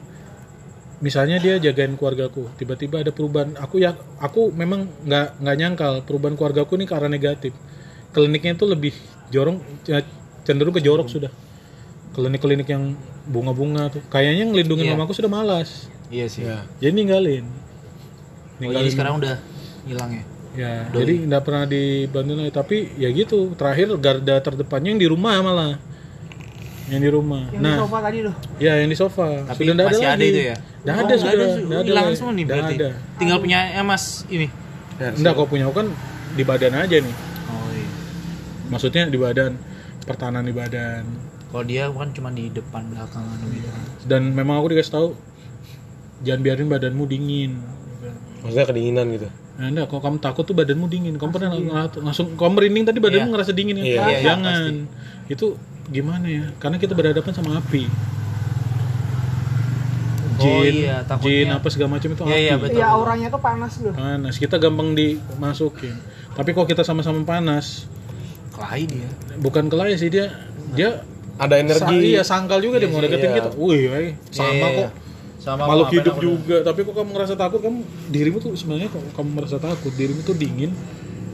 S1: misalnya dia jagain keluargaku, tiba-tiba ada perubahan. Aku ya aku memang nggak nggak nyangkal perubahan keluargaku ini ke arah negatif. Kliniknya itu lebih jorong ya, cenderung ke jorok sudah. Klinik-klinik yang bunga-bunga tuh, kayaknya ngelindungin
S2: Iya.
S1: mamaku sudah malas.
S2: iya sih
S5: Iya.
S1: Jadi ninggalin.
S2: Oh, jadi sekarang udah hilang ya
S1: Ya, jadi nggak pernah dibantu lagi. Tapi ya gitu, terakhir garda terdepannya yang di rumah malah. Yang di rumah.
S3: Yang
S1: nah,
S3: di sofa tadi loh.
S1: ya yang di sofa.
S2: Tapi
S1: Sudah nggak
S2: masih ada
S1: lagi.
S2: itu ya?
S1: Nggak ada sudah. nggak ada
S2: hilang
S1: lagi.
S2: semua nih
S1: Nggak
S2: berarti.
S1: ada.
S2: Tinggal punya Mas ini.
S1: Enggak kok punya aku kan di badan aja nih.
S2: Oh iya.
S1: Maksudnya di badan, pertahanan di badan.
S2: Kalau dia kan cuma di depan belakang gitu kan.
S1: Dan memang aku dikasih tahu jangan biarin badanmu dingin.
S5: Maksudnya kedinginan gitu.
S1: Nah, enggak, kalau kamu takut tuh badanmu dingin. Kamu pernah ngelat- langsung kamu merinding tadi badanmu
S2: Iya.
S1: ngerasa dingin kan?
S5: Iya,
S2: iya, iya,
S1: Jangan. Itu gimana ya? Karena kita berhadapan sama api. Jin,
S2: Oh iya, takutnya.
S1: jin apa segala macam itu
S2: Iya, iya,
S1: api.
S2: betul.
S3: Iya auranya tuh panas loh.
S1: panas. Kita gampang dimasukin. Tapi kalau kita sama-sama panas,
S2: Kelahi dia.
S1: bukan kelaya sih dia dia
S5: Ada
S1: sa-
S5: energi.
S1: iya, sangkal juga dia mau deketin
S5: iya.
S1: kita. Wih, wih, sama
S2: Iya, iya.
S1: kok.
S2: Sama kok,
S1: Makhluk
S2: ngapain
S1: hidup
S2: aku
S1: juga, tapi kok kamu ngerasa takut? Kamu dirimu tuh sebenarnya kok kamu merasa takut, dirimu tuh dingin.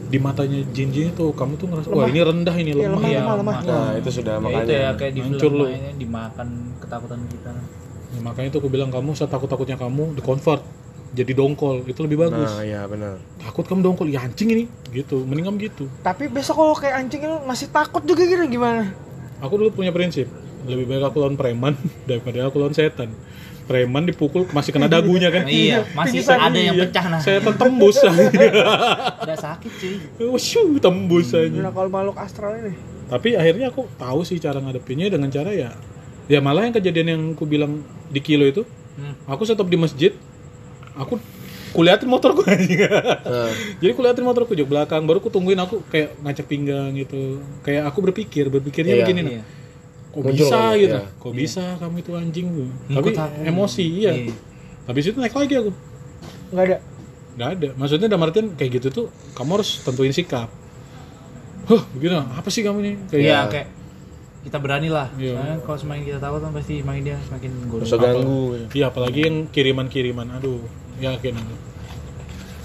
S1: di matanya jin-jin itu kamu tuh ngerasa wah ini rendah ini lemah,
S3: lemah,
S1: ya.
S3: lemah, lemah.
S5: Nah, itu
S2: Ya
S5: sudah makanya.
S2: itu ya kayak di
S1: Hancur lu.
S2: film mainnya dimakan ketakutan [LAUGHS] kita. Nah,
S1: Ya, makanya tuh aku bilang kamu setakut takutnya kamu di convert jadi dongkol itu lebih bagus
S5: Nah, iya benar.
S1: takut kamu dongkol ya anjing ini gitu mending kamu gitu
S3: Tapi besok kalau kayak anjing lu masih takut juga gitu gimana?
S1: aku dulu punya prinsip lebih baik aku lawan preman [LAUGHS] daripada aku lawan setan preman dipukul masih kena dagunya kan
S2: Iya, masih
S1: Pingsan,
S2: ada yang
S1: iya.
S2: pecah nah.
S1: setan tembus [LAUGHS]
S2: Udah sakit cuy.
S1: Wushu, tembus aja
S3: Nah, kalau makhluk astral ini.
S1: tapi akhirnya aku tahu sih cara ngadepinnya dengan cara ya ya malah yang kejadian yang aku bilang di kilo itu
S2: Hmm.
S1: aku stop di masjid aku kuliatin motorku anjing. jadi kuliatin motorku jok belakang baru aku tungguin aku kayak ngacak pinggang gitu kayak aku berpikir berpikirnya
S5: Iya.
S1: begini
S2: Iya.
S1: nah kok
S5: Muncul
S1: bisa
S5: kamu,
S1: gitu
S5: iya.
S1: kok bisa kamu itu anjing
S2: Ngikut
S1: tapi
S2: aku.
S1: emosi iya
S2: Iya.
S1: habis itu naik lagi aku
S3: Enggak ada.
S1: nggak ada maksudnya dalam artian kayak gitu tuh kamu harus tentuin sikap huh begitu apa sih kamu ini kayak
S2: Iya, kayak kita berani lah.
S1: Iya.
S2: Soalnya kalau semakin kita takut kan pasti makin dia semakin goreng.
S5: Usah ganggu. ya.
S1: Iya, apalagi yang kiriman-kiriman. Aduh, yakin.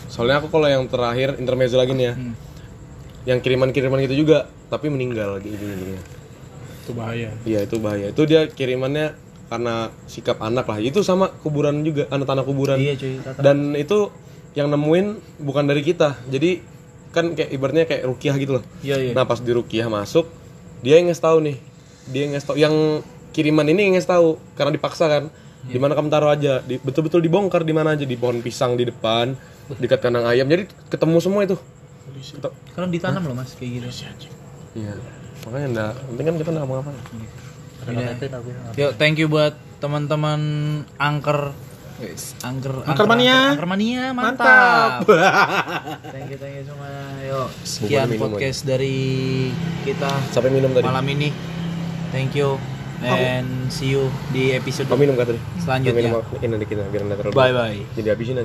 S5: Soalnya aku kalau yang terakhir intermezzo lagi nih ya. Yang kiriman-kiriman gitu juga, tapi meninggal gitu gitu.
S1: Itu bahaya.
S5: Iya, itu bahaya. Itu dia kirimannya karena sikap anak lah. Itu sama kuburan juga, anak tanah kuburan.
S2: Iya cuy, rata-
S5: Dan itu yang nemuin bukan dari kita. Jadi kan kayak ibaratnya kayak rukiah gitu loh.
S2: Iya iya.
S5: Nah pas di Rukiah masuk, dia yang ngasih tahu nih, dia yang ngasih tahu, yang kiriman ini yang ngasih tahu karena dipaksa kan. Di mana kamu taruh aja, di- betul-betul dibongkar di mana aja di pohon pisang di depan, dekat kandang ayam. Jadi ketemu semua itu.
S2: Kalau ditanam loh Mas kayak gitu.
S5: Iya. Makanya enggak, penting kan kita enggak mau apa.
S2: Yuk, Iya. thank you buat teman-teman angker angker angker
S1: mania.
S2: angker mania [LAUGHS] mantap. thank you thank you semua. Yuk, sekian
S5: minum
S2: podcast dari kita
S5: Sampai minum tadi.
S2: malam ini. Thank you and see you di episode
S5: Kau minum kata tadi. Kau minum
S2: selanjutnya. ya.
S5: ini nanti kita biar enggak terlalu.
S2: Bye bye.
S5: Jadi habisin aja.